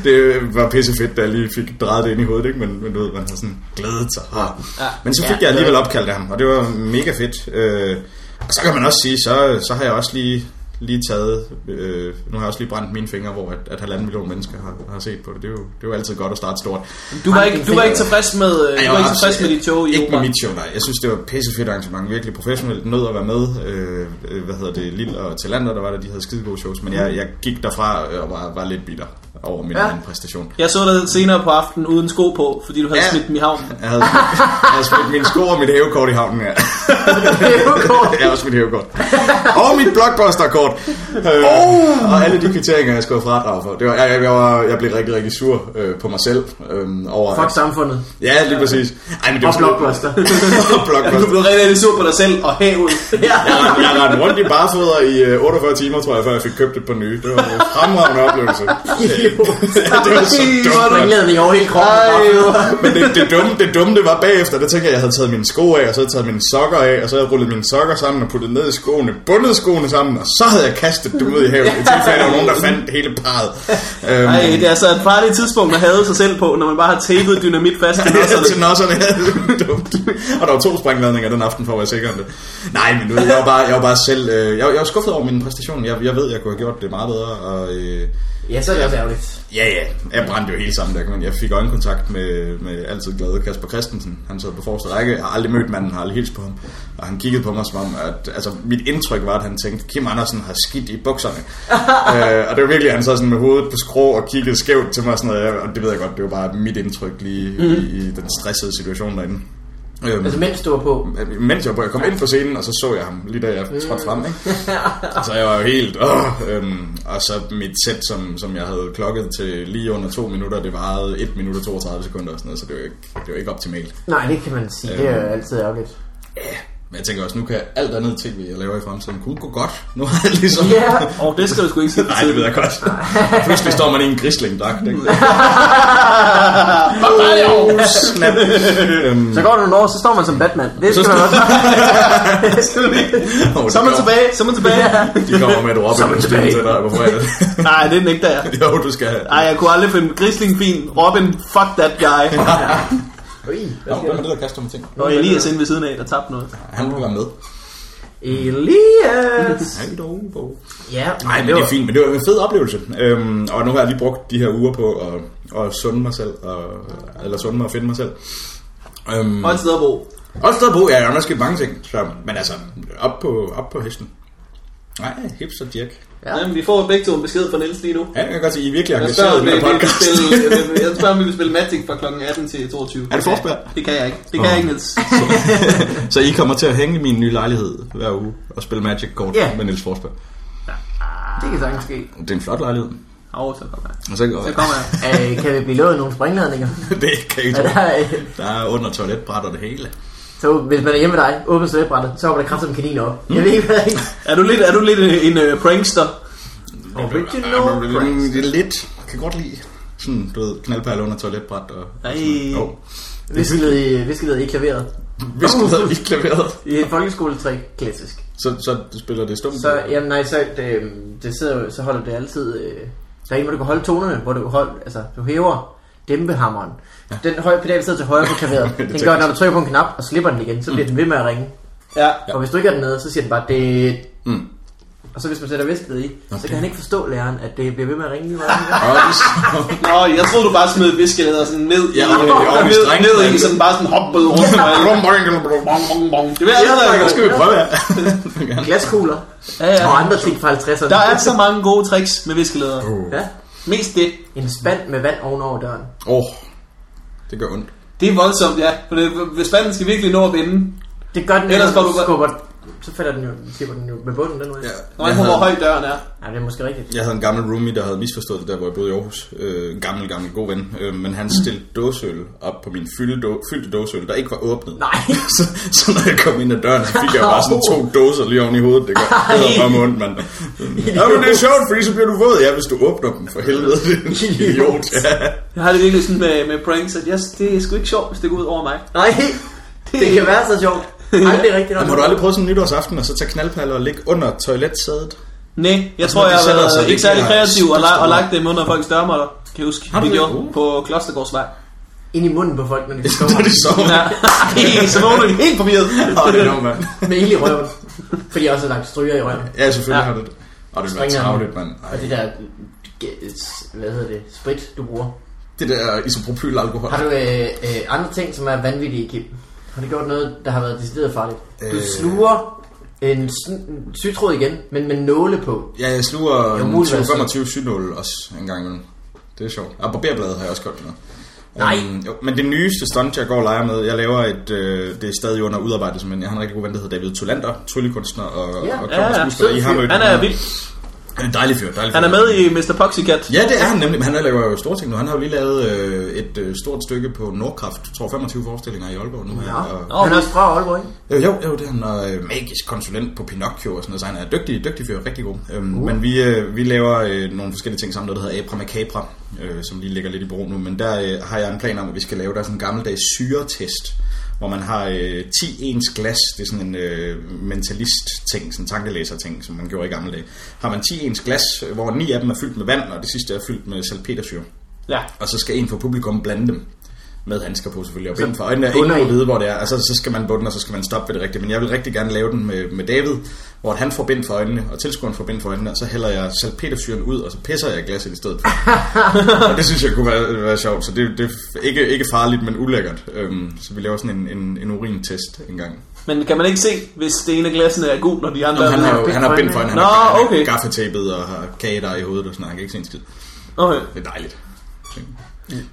det var pisse fedt, da jeg lige fik drejet det ind i hovedet, ikke? Men, men du ved, man har sådan glædet sig. Ja. Men så fik
Ja.
jeg alligevel opkaldt af ham, og det var mega fedt. Øh, og så kan man også sige, så, så har jeg også lige lige taget, øh, nu har jeg også lige brændt mine fingre, hvor at, at halvanden million mennesker har, har set på det. Det er, jo, det er jo altid godt at starte stort.
Du var ikke, du var ikke tilfreds med, øh, du var ikke tilfreds med dit show i
Ikke med
opera.
mit show, nej. Jeg synes, det var et pissefedt arrangement. Virkelig professionelt. Nød at være med. Øh, øh, hvad hedder det? Lille og Talander, der var der. De havde skide gode shows. Men jeg, jeg gik derfra øh, og var, var lidt bitter over min
Ja.
ja. præstation.
Jeg så dig senere på aftenen uden sko på, fordi du havde
Ja.
smidt dem i havnen.
Jeg havde, <laughs> jeg havde smidt mine sko og mit hævekort i havnen, ja. <laughs>
Det er jo godt.
jeg har også mit hævekort. Og mit blockbuster-kort. Øh, oh. Og alle de kvitteringer, jeg skulle have fradrag for. Det var, jeg, jeg, jeg, var, jeg blev rigtig, rigtig sur øh, på mig selv. Øh, over,
Fuck samfundet.
Ja, lige præcis. Ej, men det
Og
var-
blockbuster.
<laughs> og
Du
blockbuster.
blev rigtig, rigtig sur på dig selv og havet.
Ja.
Jeg rendte- Jeg rendte rundt i barfødder i øh, 48 timer, tror jeg, før jeg fik købt et par nye. Det var en fremragende oplevelse. <laughs> det var så dumt.
Springladning over hele kroppen.
Men det, det, dumme, det dumme, det var bagefter, der tænker jeg, jeg havde taget mine sko af, og så havde jeg taget mine sokker af, og så havde jeg rullet mine sokker sammen og puttet ned i skoene, bundet skoene sammen, og så havde jeg kastet dem ud i havet. I tilfælde, der var nogen, der fandt hele parret. Øhm,
Nej, det er altså et farligt tidspunkt at have sig selv på, når man bare har tapet dynamit fast. til
Ja,
nosserne.
til nosserne. Ja, det er dumt. Og der var to springladninger den aften for at være sikker om det. Nej, men nu, jeg var bare, jeg var bare selv... Øh, jeg, var- jeg var skuffet over min præstation. Jeg, jeg ved, jeg kunne have gjort det meget bedre. Og, øh,
Ja, så er det også ærgerligt.
ja, ja. Jeg brændte jo hele sammen der. Men jeg fik øjenkontakt med, med altid glade Kasper Christensen. Han sad på forreste række. Jeg har aldrig mødt manden, har aldrig hilst på ham. Og han kiggede på mig som om, at altså, mit indtryk var, at han tænkte, Kim Andersen har skidt i bukserne. øh, og det var virkelig, han sad sådan med hovedet på skrå og kiggede skævt til mig. Sådan noget. Og det ved jeg godt, det var bare mit indtryk lige mm. i, i, den stressede situation derinde. Øhm,
Altså mens du var på.
mens jeg, jeg kom ind på scenen, og så så jeg ham lige da jeg trådte frem. Ikke? Så jeg var jo helt... Åh, øhm, og så mit sæt, som, som jeg havde klokket til lige under to minutter, det varede 1 minut og 32 sekunder og sådan noget, så det var jo ikke, det var ikke optimalt.
Nej, det kan man sige. Det er jo altid ærgerligt.
Men jeg tænker også, nu kan alt andet tv, jeg laver i fremtiden, kunne gå godt. Nu har jeg ligesom...
Ja.
Åh, det skal du sgu ikke sige.
Nej, det ved jeg godt. Pludselig står man i en grislingdragt, ikke? oh, snap. Øhm,
Så går du nogle år, så står man som Batman. Det skal man også.
<laughs> oh,
Så er man tilbage, så er man tilbage.
De kommer med et Robin. Så er man
tilbage.
Til dig. Hvorfor er det?
Nej, det nægter jeg.
<laughs> jo, du skal have.
Nej, jeg kunne aldrig finde grislingfin. Robin, fuck that guy.
Ui, hvad
Nå,
sker
hvem er
der?
det, der kaster med ting?
Og Elias inde ved siden af, der tabte noget.
Han må være med.
Elias!
Nej, dog, dog.
Ja,
Nej, men det er fint, men det var en fed oplevelse. Øhm, og nu har jeg lige brugt de her uger på at, at sunde mig selv, og, eller sunde mig og finde mig selv. Øhm,
Og et sted at bo.
også der på, ja, jeg har nok sket mange ting, så, men altså, op på, op på hesten. Nej, hipster Dirk.
Ja.
Jamen, vi får begge to en besked fra Niels lige nu.
Ja, jeg kan godt se, I er virkelig
Jeg
engageret
spørger,
i
om
den
vi, vi
her
vil
podcast.
spille, jeg spørger, om vi vil spille Magic fra kl. 18 til 22.
Er det forspil?
Det kan jeg ikke. Det kan jeg ikke, Niels.
<laughs> Så I kommer til at hænge i min nye lejlighed hver uge og spille Magic kort
Ja.
med Niels Forsberg.
Det kan sagtens ske.
Det er en flot lejlighed.
Åh, så kommer jeg.
Og så,
Så kommer jeg.
Øh, kan vi blive lovet nogle springladninger?
<laughs> det kan I
Er
tro.
der, øh,
Der er under toiletbræt og det hele.
så hvis man er hjemme med dig, åbner slæbrættet, så hopper der kraftigt en kanin op.
Mm.
Jeg ved ikke, hvad
Er du lidt, er du lidt en, en øh, prankster?
Original pranks.
Det er lidt. Jeg kan godt lide sådan, du ved, knaldperle under toiletbræt og...
Ej.
Oh.
Viskeled i, viskeled i klaveret.
Hvis du havde ikke klaveret,
I et folkeskoletrik, klassisk.
så, så spiller det stumt.
Så, jamen nej, så, det, det sidder, jo- så holder det altid... Øh, der er en, hvor du kan holde tonerne, hvor du, hold, altså, du hæver dæmpehammeren. Den højre pedal sidder til højre på
<laughs>
klaveret. Den gør, når du trykker på en knap og slipper den igen, så bliver den ved med at ringe.
Mm. Ja.
Ja. Og hvis du ikke er dernede, så siger den bare, det...
Mm.
Og så hvis man sætter viskelet i, okay. så kan han ikke forstå læreren, at det bliver ved med at ringe lige meget.
<laughs>
Og så-
Nå, jeg troede, du bare smed et viskelæder sådan ned i,
Ja, og- og- og-
ned,
strengt,
ned i,
mand.
sådan bare sådan hoppede rundt. og alt. Bong, bong, bong. Det vil jeg
Ja,
allerede
det skal vi prøve. ja.
Glaskugler
Ja, ja.
og andre ting fra 50'erne.
Der er altså- så mange gode tricks med viskelæder.
Åh,
Ja.
Mest det.
En spand med vand ovenover døren.
Åh, det gør ondt.
Det er voldsomt, ja. For det, hvis spanden skal virkelig nå at vinde.
Det gør den,
Ellers
ellers
går du
du
bare-
skubber... Så falder den jo, tipper den jo med bunden den vej. Ja.
Når jeg på, hvor høj døren er.
ja, det er måske rigtigt.
Jeg havde en gammel roomie, der havde misforstået det, der hvor jeg boede i Aarhus. Øh, en gammel, gammel god ven. Øh, men han stillede dåseøl op på min fylde då- fyldte dåseøl, der ikke var åbnet.
Nej.
<laughs> så, så når jeg kom ind ad døren, så fik jeg bare sådan to dåser lige oven i hovedet. Det gør det var bare ondt, mand. Ja, men det er sjovt, fordi så bliver du våd. Ja, hvis du åbner dem, for helvede. Idiot. <laughs> Ja.
Jeg har det virkelig sådan med, med pranks, at jeg, det er sgu ikke sjovt, hvis det går ud over mig.
Nej, det kan være så sjovt. Nej, det er rigtigt.
Men Har du aldrig prøvet sådan en nytårsaften, og så tage knaldpaller og ligge under toiletsædet?
Nej, jeg
når
tror,
de
jeg har
sætter sig,
været
det
ikke særlig
er
kreativ og, la- og
store.
lagt dem under folks dørmåtter. Kan jeg huske,
Har du
vi
det? Uh.
gjorde på Klostergårdsvej.
Ind i munden på folk, når de
Så
sover.
er det sover. <laughs>
Ja, <laughs> Ej, så vågner de helt forvirret.
Åh, det er dumt, mand.
med ild i røven. Fordi jeg også har lagt stryger i røven.
Ja, selvfølgelig
Ja.
har du det. Og det var
Springer.
travligt, mand. Ej,
Og det der... ge- Hvad hedder det? Sprit, du bruger.
Det der isopropylalkohol.
Har du øh, øh, andre ting, som er vanvittige, Kim? Har du gjort noget, der har været decideret farligt? Du
Øh.
sluger en, sn- en sytråd igen, men med nåle på.
Ja, jeg sluger
Jo, muligvis.
25 synål også en gang imellem. Det er sjovt. Og barberbladet har jeg også gjort noget.
Nej.
Øhm, jo, men det nyeste stunt, jeg går og leger med, jeg laver et, øh, det er stadig under udarbejdelse, men jeg har en rigtig god ven, der hedder David Tolander, tryllekunstner og,
Ja.
yeah. og
Ja, ja,
klapperskuespiller. I har mødt
Han er
ham.
vild.
Han er dejlig fyr, dejlig fyr.
Han er med i Mr. Poxycat.
Ja, det er han nemlig, men han laver jo store ting nu. Han har jo lige lavet øh, et øh, stort stykke på Nordkraft, jeg tror 25 forestillinger i Aalborg nu. her. Og,
Ja. Han er også fra Aalborg, ikke?
jo, jo, jo, det er han og, øh, magisk konsulent på Pinocchio og sådan noget, så han er dygtig, dygtig fyr, rigtig god. Øhm, uh. Men vi, øh, vi laver øh, nogle forskellige ting sammen, noget, der hedder Abra Macabra, øh, som lige ligger lidt i bro nu, men der øh, har jeg en plan om, at vi skal lave, der er sådan en gammeldags syretest, hvor man har øh, 10 ens glas, det er sådan en øh, mentalist-ting, sådan en tankelæser-ting, som man gjorde i gamle dage. Har man 10 ens glas, øh, hvor 9 af dem er fyldt med vand, og det sidste er fyldt med salpetersyre.
Ja.
Og så skal en fra publikum blande dem med handsker på selvfølgelig, og bind for øjnene,
bunder
ingen
i.
må vide, hvor det er, altså så skal man bunde, og så skal man stoppe ved det rigtige, men jeg vil rigtig gerne lave den med, med David, hvor han får bind for øjnene, og tilskueren får bind for øjnene, og så hælder jeg salpetersyren ud, og så pisser jeg glasset i stedet for.
<laughs>
og det synes jeg kunne være, være sjovt, så det, det er ikke, ikke farligt, men ulækkert, øhm, så vi laver sådan en, en, en urintest en gang.
Men kan man ikke se, hvis det ene af glassene er gul, og de andre
Nå,
er
han, har,
blå?
jo- han har bind for øjnene, han
Nå,
har- han er
okay.
gaffetapet og har kage der i hovedet og sådan noget, han kan ikke se en skid.
Okay.
Det er dejligt.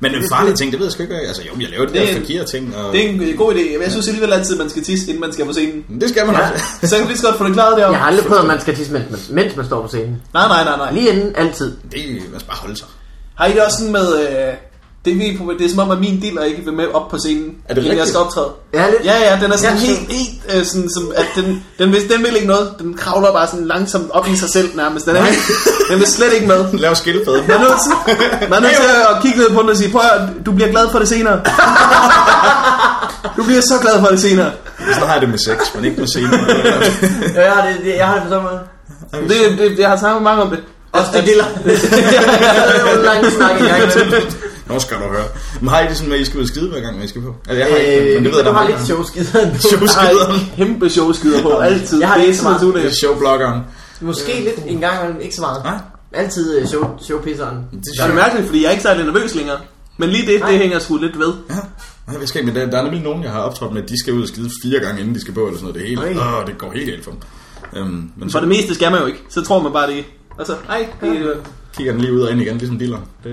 Men den farlige ting, det ved jeg sgu ikke. Altså jo, jeg laver de
Det er-
der fakire ting. Og...
Det er en øh, god idé. Men jeg synes alligevel altid, at man skal tisse, inden man skal på scenen.
Men det skal man
Ja.
også.
Så kan vi lige så godt få det klaret derom.
Jeg har aldrig prøvet, at man skal tisse, mens man, mens man står på scenen.
Nej, nej, nej, nej.
Lige inden, altid.
Det man skal bare holde sig.
Har I det også sådan med... Øh, det, er min problem. det er som om, at min dealer ikke vil med op på scenen,
Er det
inden jeg
rigtigt?
skal optræde.
Ja, lidt.
Ja, ja, den er sådan
Ja,
helt, helt øh, sådan, som, at den, den, vil, den vil ikke noget. Den kravler bare sådan langsomt op i sig selv nærmest. Den, er, den vil slet ikke med.
Lav skildpadde.
Man er nødt til, man er nødt til at kigge ned på den og sige, prøv at høre, du bliver glad for det senere. Du bliver så glad for det senere.
Sådan har jeg det med sex, men ikke med scenen.
Ja, jeg har det, det, jeg har det på <laughs> samme måde.
Det, det, jeg har snakket med mange om det.
Også det diller. Det er jo en lang snak i gang imellem.
Nå skal du høre. Men har I det sådan med, at I skal ud og skide hver gang, man skal på? Altså, jeg har ikke,
Øh,
men det ved jeg,
du
der
har
er
lidt showskideren
<laughs>
på.
Showskideren.
Nej, kæmpe showskider på, altid.
Jeg har
det
det
er
ikke så meget.
sådan,
Det
det
er showbloggeren.
Måske lidt en gang imellem, ikke så meget.
Nej.
Altid øh, show, showpisseren.
er
Det
det
sjovt.
mærkeligt, fordi jeg er ikke særlig nervøs længere. Men lige det, det hænger sgu lidt ved.
Ja. Nej, hvad skal jeg- men der, der er nemlig nogen, jeg har optrådt med, at de skal ud og skide fire gange, inden de skal på, eller sådan noget. Det hele.
Ej.
Åh, det går helt galt for dem. Øhm, men
For det
så
meste skal man jo ikke. Så tror man bare det. Altså, ej, det er jo...
kigger den lige ud og ind igen, ligesom diller. Det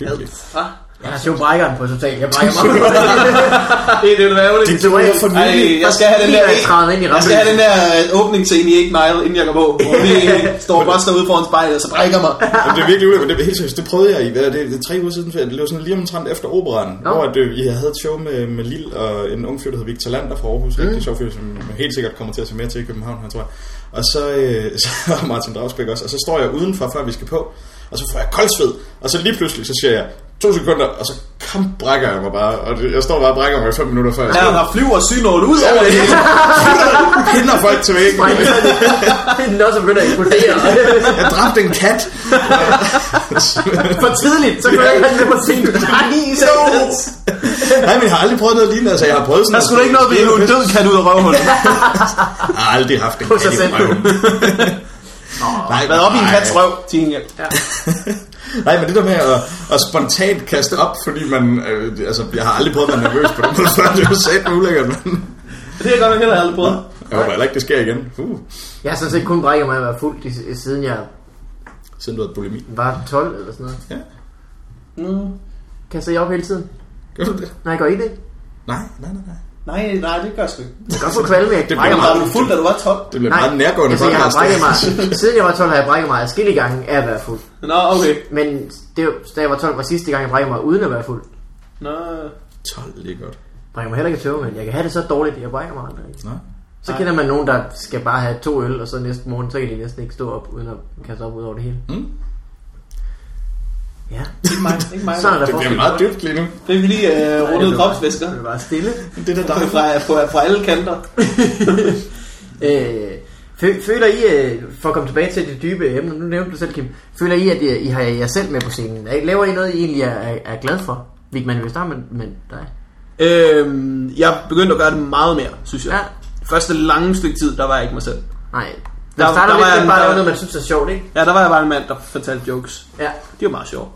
Hyggeligt.
Ah,
Jeg har sjov brækkeren på totalt. Jeg
<laughs>
brækker mig.
det er det vil være ærgerligt.
Det var ikke for
Ej, jeg skal have den der...
træder ind i
Jeg skal have
<laughs>
den
rammen.
der øh, åbningsscene i 8 Mile, inden jeg går på. Hvor <laughs> vi øh, står bare derude foran spejlet, og så brækker mig.
Jamen, det er virkelig ulækkert. Det er helt seriøst. Det prøvede jeg i, hvad er det, det er tre uger siden, tror jeg. det lå sådan lige omtrent efter operan,
Nå.
Nå. hvor at, øh, jeg havde et show med, med Lil og en ung fyr, der hedder Victor Lander fra Aarhus. Mm. Rigtig sjov fyr, som helt sikkert kommer til at se mere til i København, her, tror jeg. Og så, øh, <laughs> så og Martin Dragsbæk også. Og så står jeg udenfor, før vi skal på, og så får jeg koldsved. Og så lige pludselig, så siger jeg, to sekunder, og så kom brækker jeg mig bare. Og det- jeg står bare og brækker mig i fem minutter før. Jeg
Ja, der flyver synål ud over det. hele.
pinder folk til væggen.
<laughs> Nå, så begynder jeg at
<laughs>
eksplodere.
Jeg dræbte en kat. <laughs>
For tidligt, så kunne jeg ikke have <laughs> det på sent. Nej, så...
<laughs> Nej, men jeg har aldrig prøvet noget lignende. Altså, jeg har prøvet sådan...
Der skulle da ikke noget ved en død kat ud af <laughs> røvhullet.
Jeg har aldrig haft en
På sig selv.
kat i <laughs> røven. Nej,
Været op i en
nej.
kats røv, til en hjælp.
Nej, men det der med at, at spontant kaste op, fordi man... Øh, altså, jeg har aldrig prøvet at være nervøs på den måde før. Det er jo sat med ulækkert, men...
Det er godt nok heller aldrig prøvet.
Jeg håber heller ikke, det sker igen. Uh,
Jeg har sådan set kun brækket mig at være fuld, i- siden jeg
siden du havde bulimi.
var 12 eller sådan noget.
Ja,
Mm.
Kaster jeg op hele tiden?
gør du det?
Nej, går I det?
Nej, nej, nej, nej.
Nej, nej, det gør sgu ikke.
Jeg kan godt få kvalme, jeg
Det
brækker
bliver
mig.
Var du fuld, da du var 12?
Det bliver meget nærgående
altså, jeg har
podcast. <laughs>
brækket mig. Siden jeg var 12, har jeg brækket mig adskillige gange af at være fuld.
Nå, okay.
Men det, var- da jeg var 12, var sidste gang, jeg brækkede mig uden at være fuld.
Nå.
12, det er godt.
Jeg
Mm?
brækker mig heller ikke i tøve, men jeg kan have det så dårligt, jeg brækker mig aldrig.
Nej.
Så kender man nogen, der skal bare have to øl, og så næste morgen, så kan de næsten ikke stå op, uden at kaste op ud over det hele.
Mm.
Ja,
Ikke mig, ikke mig.
sådan er der
Det bliver
forskel.
meget dybt lige nu.
Det er vi lige øh, rundet kropsvæsker.
Det er bare stille.
Det der
Fra, fra, fra alle kanter.
Øh, fø- føler I, øh, for at komme tilbage til det dybe emne, nu nævnte du selv, Kim, føler I, at I, I har jer selv med på scenen? Er- Laver I noget, I egentlig er, er, er glad for? Vigman, vi starter med, med dig.
Øhm, jeg begyndte at gøre det meget mere, synes jeg.
Ja.
Første lange stykke tid, der var jeg ikke mig selv.
Nej, man
Der-
der, starter
der
lidt
var
med
en-
bare at
der-
lave noget, man synes er sjovt, ikke?
Ja, der var jeg bare en mand, der fortalte jokes.
Ja,
Det var meget sjovt.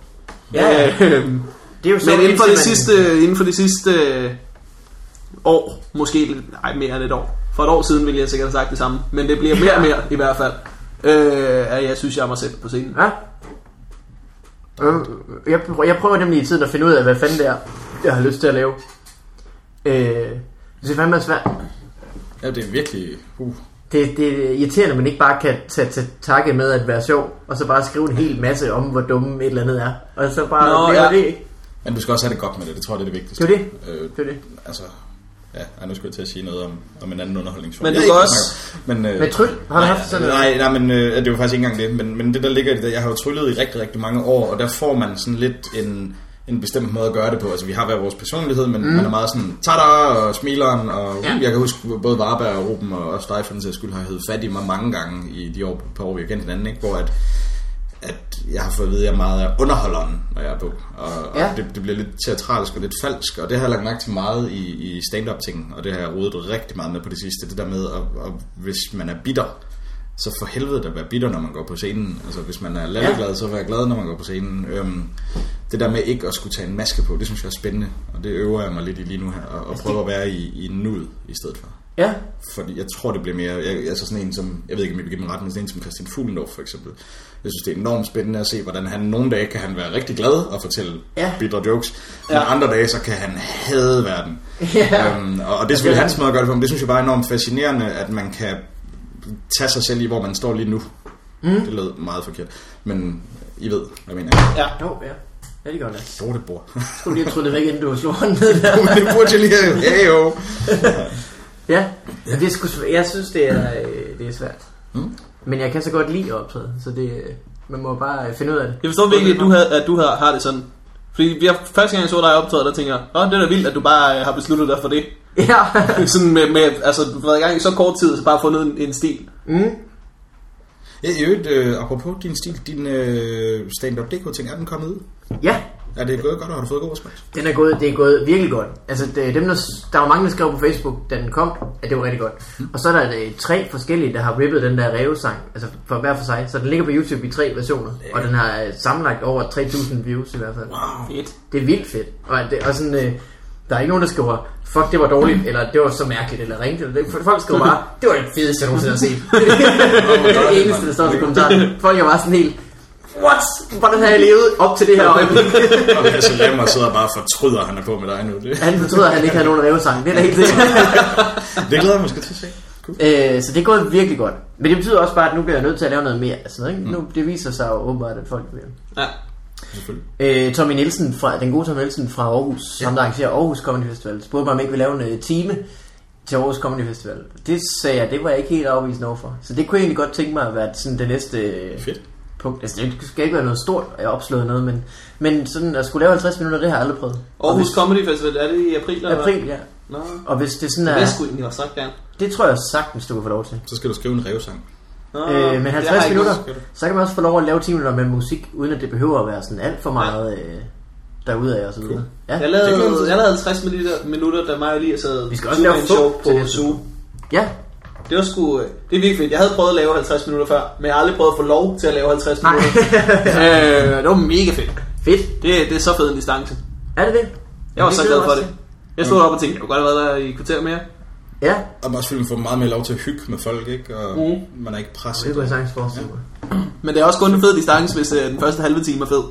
Ja, ja.
Øhm,
det er jo sjovt.
men inden for,
indtil
det
man-
sidste, inden for det sidste øh, år, måske lidt- nej, mere end et år. For et år siden ville jeg sikkert have sagt det samme, men det bliver mere og mere i hvert fald. Øh, at jeg synes, jeg er mig selv på scenen.
Ja. Øh, Jeg, prøver, jeg prøver nemlig i tiden at finde ud af, hvad fanden det er, jeg har lyst til at lave. Øh, det er fandme svært.
Ja, det er virkelig... Uh.
Det, det er irriterende, at man ikke bare kan tage til takke med at være sjov, og så bare skrive en hel masse om, hvor dumme et eller andet er. Og så bare
Nå,
Nå, ja.
ja.
det, ikke?
Men du skal også have det godt med det. Det tror jeg, det er det vigtigste.
Det er jo
Øh,
Det er det.
altså, ja, ej, nu skulle jeg til at sige noget om, om en anden underholdningsform.
Men
Jeg
du kan
ved ikke,
også-
hvad man- Men, øh,
Med tryl? Har du
nej,
haft sådan noget?
nej, nej, men øh, det er jo faktisk ikke engang det. Men, men det, der ligger i det, der- jeg har jo tryllet i rigtig, rigtig mange år, og der får man sådan lidt en en bestemt måde at gøre det på. Altså, vi har hver vores personlighed, men mm. man er meget sådan, tada, og smileren, og uh,
Ja.
jeg kan huske, både Varberg og Ruben og også dig, for den sags skyld, har heddet fat i mig mange gange i de år, par år, vi har kendt hinanden, ikke? hvor at, at jeg har fået at vide, at jeg meget er underholderen, når jeg er på. Og, ja.
Ja.
og det, det bliver lidt teatralsk og lidt falsk, og det har jeg lagt mærke til meget i, i stand-up-ting, og det har jeg rodet rigtig meget med på det sidste. Det der med, at, at hvis man er bitter, så for helvede da være bitter, når man går på scenen. Altså hvis man er lalleglad, ja. så vær glad, når man går på scenen. Øhm, det der med ikke at skulle tage en maske på, det synes jeg er spændende, og det øver jeg mig lidt i lige nu her, og, og prøver at være i, i nuet i stedet for.
Ja.
Fordi jeg tror, det bliver mere... Jeg, altså sådan en som... Jeg ved ikke, om jeg vil give mig ret, men sådan en som Christian Fuglendorf, for eksempel. Jeg synes, det er enormt spændende at se, hvordan han nogle dage kan han være rigtig glad og fortælle
Ja.
ja. bitre jokes, men
Ja.
andre dage, så kan han hade verden.
Ja.
Øhm, og, og det er selvfølgelig hans måde at gøre det på, men det synes jeg bare er enormt fascinerende, at man kan tage sig selv i, hvor man står lige nu. Mm. Det lød meget forkert, men I ved, hvad jeg mener.
Ja.
Jo, ja. Ja, det gør det.
Dorte bor.
Så skulle du lige have tryllet væk, inden du slog hånden ned der.
men <laughs> det burde jeg lige have. Hey, jo.
Ja, ja. Det er sgu, svæ- jeg synes, det er, øh, det er svært.
Mm.
Men jeg kan så godt lide at optræde, så det, øh, man må bare øh, finde ud af det. <laughs>
Jeg forstår virkelig, at du, havde, at du har, har det sådan. Fordi jeg, første gang jeg så dig optræde, der tænker jeg, åh, det er da vildt, at du bare øh, har besluttet dig for det. <laughs>
Ja.
sådan med, med altså, du har været i gang i så kort tid, så bare fundet en, en stil.
Ja, i øvrigt, øh, apropos din stil, din øh, stand-up-dk-ting, er den kommet ud?
Ja,
Er det gået godt, og har du fået god respons?
den er gået, det er gået virkelig godt. Altså, det, dem, der, s- der var mange, der skrev på Facebook, da den kom, at det var rigtig godt. Og så er der øh, tre forskellige, der har rippet den der revsang, altså for hver for sig. Så den ligger på YouTube i tre versioner, og den har øh, sammenlagt over 3.000 views i hvert fald.
Fedt.
Det er vildt fedt. Og, det, og sådan, øh, Der er ikke nogen, der skriver, fuck, det var dårligt, eller det var så mærkeligt, eller ringt. Eller det. Folk skriver bare, det var det fedeste, jeg nogensinde har set. <laughs> det er det eneste, der står i kommentaren. Folk er bare sådan helt, what? Hvordan har jeg levet op til det her øjeblik?
Og Lasse Lemmer sidder bare og fortryder, at han er på med dig nu. Det,
Han fortryder, at han ikke havde nogen revsang. Det er da helt sikkert.
det glæder jeg mig sgu til at se. Cool.
<laughs> Øh, så det er gået virkelig godt. Men det betyder også bare, at nu bliver jeg nødt til at lave noget mere. Altså, ikke? Mm. Nu, det viser sig jo åbenbart, at folk bliver...
Ja.
Selvfølgelig.
Øh, Tommy Nielsen fra, den gode Tommy Nielsen fra Aarhus, ja. ham der arrangerer Aarhus Comedy Festival, spurgte mig, om jeg ikke ville lave en øh, time til Aarhus Comedy Festival. Det sagde jeg, det var jeg ikke helt afvisende overfor. Så det kunne jeg egentlig godt tænke mig at være sådan det næste øh,
Fedt.
punkt. Altså, det skal ikke være noget stort, at jeg opslået noget, men, men sådan at skulle lave 50 minutter, det har jeg aldrig prøvet.
Aarhus Comedy Festival, er det i april? Eller? hvad?
April, ja.
Nå.
Og hvis det sådan
Det
er...
skulle egentlig også sagt gerne.
Det tror jeg sagtens, du kan få lov til.
Så skal du skrive en revsang.
Nå,
Øh, men
det har jeg
50
ikke
minutter,
husket.
så kan man også få lov at lave 10 minutter med musik, uden at det behøver at være sådan alt for meget øh, derudad og så videre. Ja.
Jeg lavede, jeg lavede 50 minutter, minutter da mig og Elias havde
Vi skal også lave
en
fup til
show på
næste
Zoo.
ja,
Det var sgu, øh, det er virkelig fedt. Jeg havde prøvet at lave 50 minutter før, men jeg har aldrig prøvet at få lov til at lave 50
Nej. <laughs>
minutter. øh, det var mega fedt.
fedt.
Det, det er så fed en distance.
Er det det?
Jeg var
Det
så
glæder
glad for
jeg
det.
også
Jeg stod op og tænkte, jeg kunne godt have været der i et kvarter mere.
til. Ja,
Og bare selvfølgelig få meget mere lov til at hygge med folk, ikke? Og mm. man er ikke presset.
det kunne jeg sagtens forestille mig.
Men det er også kun en fed distance, hvis øh, den første halve time er fed.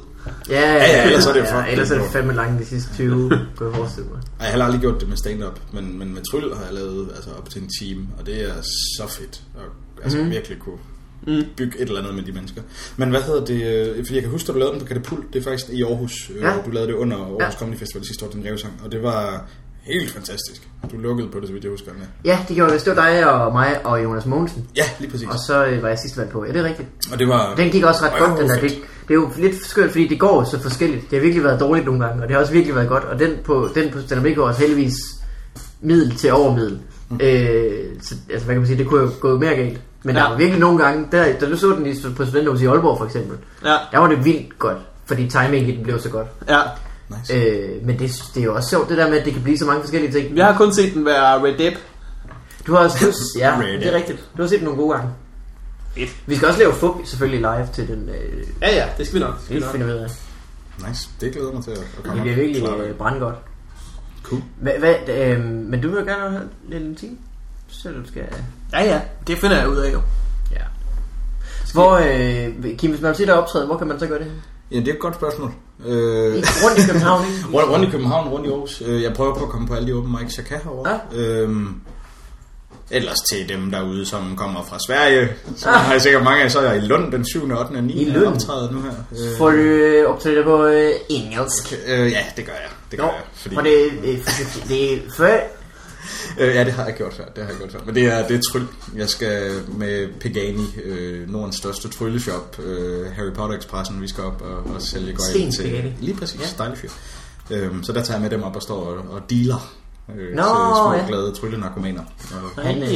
Ja,
ja, ellers er det jo fucking
ellers er det
lort.
fandme langt de sidste
<laughs>
20, kunne jeg forestille mig.
Ej, Jeg har aldrig gjort det med stand-up, men, men med tryl har jeg lavet altså, op til en time, og det er så fedt at altså, mm. virkelig kunne bygge et eller andet med de mennesker. Men hvad hedder det? øh, Fordi jeg kan huske, at du lavede den på Katapult, det er faktisk i Aarhus.
Ja.
Ja. Du lavede det under Aarhus
Ja.
ja. Comedy Festival sidste år, din revsang, og det var helt fantastisk. Du lukkede på det, så vidt jeg husker. Ja,
Ja, det gjorde det. Det var dig og mig og Jonas Mogensen.
ja lige præcis.
Og så øh, var jeg sidste valg på. Ja, det er rigtigt.
Og det var...
Den gik også ret
Ej,
godt, den
hvor
der. Det,
fedt.
det er jo lidt skørt, fordi det går jo så forskelligt. Det har virkelig været dårligt nogle gange, og det har også virkelig været godt. Og den på, den på stand går også heldigvis middel til overmiddel. Mm. Øh, så, altså, hvad kan man sige, det kunne jo gå mere galt. Men ja.
Ja.
der var virkelig nogle gange, der, da du så den i, på Studenterhuset i Aalborg for eksempel,
Ja,
der var det vildt godt, fordi timingen i den blev så godt.
ja.
Nice.
Øh, men det, det er jo også sjovt, det der med, at det kan blive så mange forskellige ting.
Jeg har kun set den være Red Depp.
Du har også,
<laughs>
du, ja,
Red,
det er
ja.
rigtigt. Du har set den nogle gode gange.
Fedt.
Vi skal også lave fup selvfølgelig live til den, øh,
Ja, ja, det skal vi nok. Det skal vi
det
nok.
finder vi ud af.
Nice. Det glæder jeg mig til at, at komme
Det bliver
op.
virkelig
Klar.
øh, brandgodt.
Cool.
Hva, hva, øh, men du vil jo gerne have en time, så du skal...
Ja, ja, det finder jeg ud af jo.
Ja. Hvor, øh, Kim, hvis man vil se dig optræde, hvor kan man så gøre det?
Ja, det er et godt spørgsmål.
<laughs>
Øh,
I, rundt i København, ikke?
<laughs> Rundt, rundt i København, rundt i Aarhus. Øh, Jeg prøver på at komme på alle de open mics, jeg kan herovre. Ja. Øhm, ellers til dem derude, som kommer fra Sverige. Så har jeg sikkert mange af, så er jeg i Lund den 7., 8. og 9.
Ah. I Lund?
optræder nu her.
Får du øh, optræde dig på øh, engelsk?
Øh, ja, det gør jeg. Det gør
Jo,
jeg. Fordi,
for det, det, det, det før,
øh, ja, det har jeg gjort før. Det har jeg gjort før. Men det er, det er tryl. Jeg skal med Pegani, øh, Nordens største trylleshop, øh, Harry Potter Expressen. Vi skal op og, og sælge
Sten
gøjle til...
Pagani.
Lige præcis. Ja. Dejlig fyr. Øhm, så der tager jeg med dem op og står og, og dealer. Øh,
Nå,
til små
ja.
glade tryllenarkomaner. Og-
han, øh,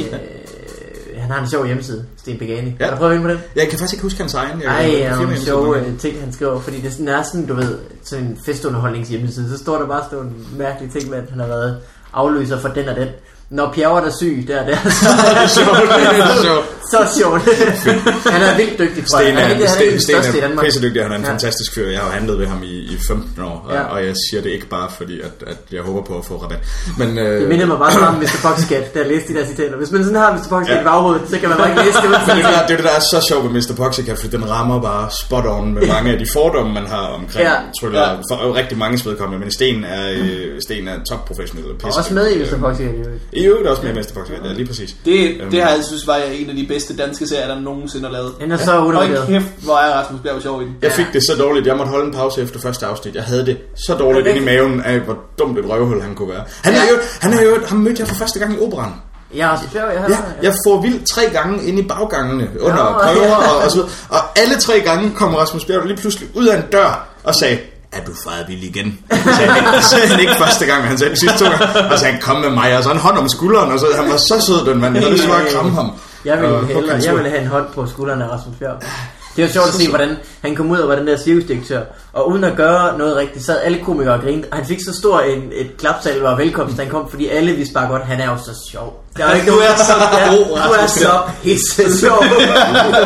han har en sjov hjemmeside, Sten Pagani. Ja.
Ja.
Har du prøvet at vinde på den?
Jeg kan faktisk ikke huske hans egen. Jeg
Ej,
jeg-
ja,
firma-
nogle
hjemmeside,
sjove
<laughs> men-
øh, ting, han skriver. Fordi det er sådan, er sådan, du ved, sådan en festunderholdningshjemmeside, så står der bare sådan nogle mærkelige ting med, at han har været afløser for den og den. Når Pjerre er syg, der og der, så
Det er sjovt. Det er sjovt.
<laughs> så
<laughs>
sjovt. han er vildt dygtig, tror jeg.
Sten
Han er, ikke-
er,
han er ikke
Sten,
den
Sten
største i
er
Danmark.
pissedygtig, og han er en
Ja.
fantastisk fyr. Jeg har jo handlet ved ham i, i 15 år, og,
Ja.
og jeg siger det ikke bare fordi, at, at jeg håber på at få rabat. Men, øh,
Det minder mig bare så meget om Mr. Foxcat, da jeg læste de der citater. Hvis man sådan har Mr. Foxcat
Ja.
i baghovedet, så kan man bare ikke
<laughs>
læse det. uden
Men det, er jo
sådan-
det, er jo det, der er så sjovt ved Mr. Poxycat, for den rammer bare spot on med mange af de fordomme, man har omkring
Ja.
ja. tryller,
Ja.
for øh, rigtig mange vedkommende, men Sten er, øh, Sten er topprofessionel. Og
Og også med i Mr. Foxcat, jo.
I øvrigt også med i Mr. Poxycat, ja, lige præcis.
Det,
Øhm.
det har jeg synes var en af de bedste danske serier, der nogensinde har lavet.
Den er så
Og
undervurderet.
kæft, hvor er Rasmus Bjerg sjov i den.
Jeg fik det så dårligt, jeg måtte holde en pause efter første afsnit. Jeg havde det så dårligt inde i maven af, hvor dumt et røvhul han kunne være. Han er jo, han er jo, ham mødte jeg for første gang i operan.
Jeg er også flere, jeg har.
Ja, jeg får vildt tre gange ind i baggangene under
Nå,
prøver
ja.
og, og så videre. Og alle tre gange kom Rasmus Bjerg lige pludselig ud af en dør og sagde, er du faret vild igen? Det sagde han ikke- det sagde han ikke første gang, men han sagde det sidste to gange. Og så han kom med mig, og så en hånd om skulderen, og så han var så sød, den mand. Jeg havde lyst til bare at kramme ham.
Jeg
Og
ville,
hugge
hellere,
hans
jeg
hud.
ville have en hånd på skulderen af Rasmus Bjerg. Det var sjovt at se, hvordan han kom ud og var den der cirkusdirektør, og uden at gøre noget rigtigt, sad alle komikere og grinede, og han fik så stor en, et klapsalve og velkomst, da han kom, fordi alle vidste bare godt, han er jo så sjov. Der er jo ikke
Du
nogen,
er så god,
ja, Du er
Rasmus
så pisse sjov.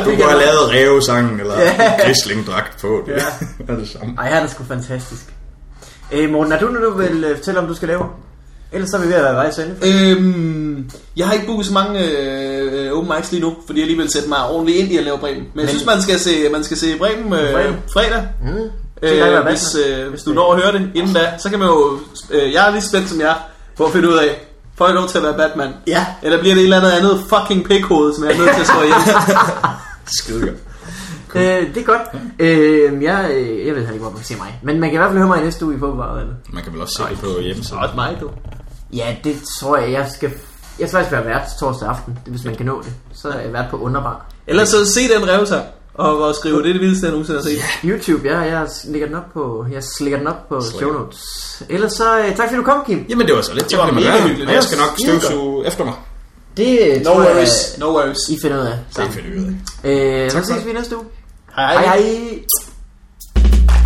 Du kunne have lavet rævesangen eller
Ja.
grisling dragt på. <laughs> Det
Ja.
er det samme.
Ej, han er sgu fantastisk. Øh, Morten, er du nu, du vil øh, fortælle, om du skal lave? Ellers så er vi ved at være vejs ende.
Øhm, jeg har ikke booket så mange øh, øh, open mics lige nu, fordi jeg lige vil sætte mig ordentligt ind i at lave Bremen. Men, jeg synes, man skal se, man skal se Bremen øh,
Bremen.
fredag.
Mm.
Øh, hvis, øh, hvis du når at høre det inden da, så kan man jo... Øh, jeg er lige spændt som jeg er på at finde ud af. Får jeg lov til at være Batman?
Ja.
Eller bliver det et eller andet andet fucking pikhoved, som jeg er nødt til at slå <laughs> ihjel?
Skide godt.
Øh, det er godt. Øh, jeg, øh, jeg ved heller ikke, hvor man kan se mig. Men man kan i hvert fald høre mig i næste uge i Fodboldvarvandet.
Man kan vel også se det på hjemmesiden.
Godt mig, du.
Ja, det tror jeg. Jeg skal, jeg skal faktisk være vært torsdag aften, hvis man kan nå det. Så er jeg vært på Underbar.
Ellers så se den revse her, og, og skrive, det er det vildeste, jeg nogensinde har set.
YouTube, ja, jeg lægger den op på, jeg lægger den op på show notes. Ellers så, øh, tak fordi du kom, Kim.
Jamen det var så lidt.
Det var
Det kan man
mega
gøre.
hyggeligt.
Og jeg skal nok
Det var skide
støvsuge efter mig.
Det
No worries, no worries.
I finder ud af.
Det finder vi ud af.
Øh, så
for
ses
det.
vi næste uge.
Hej.
Hej hej.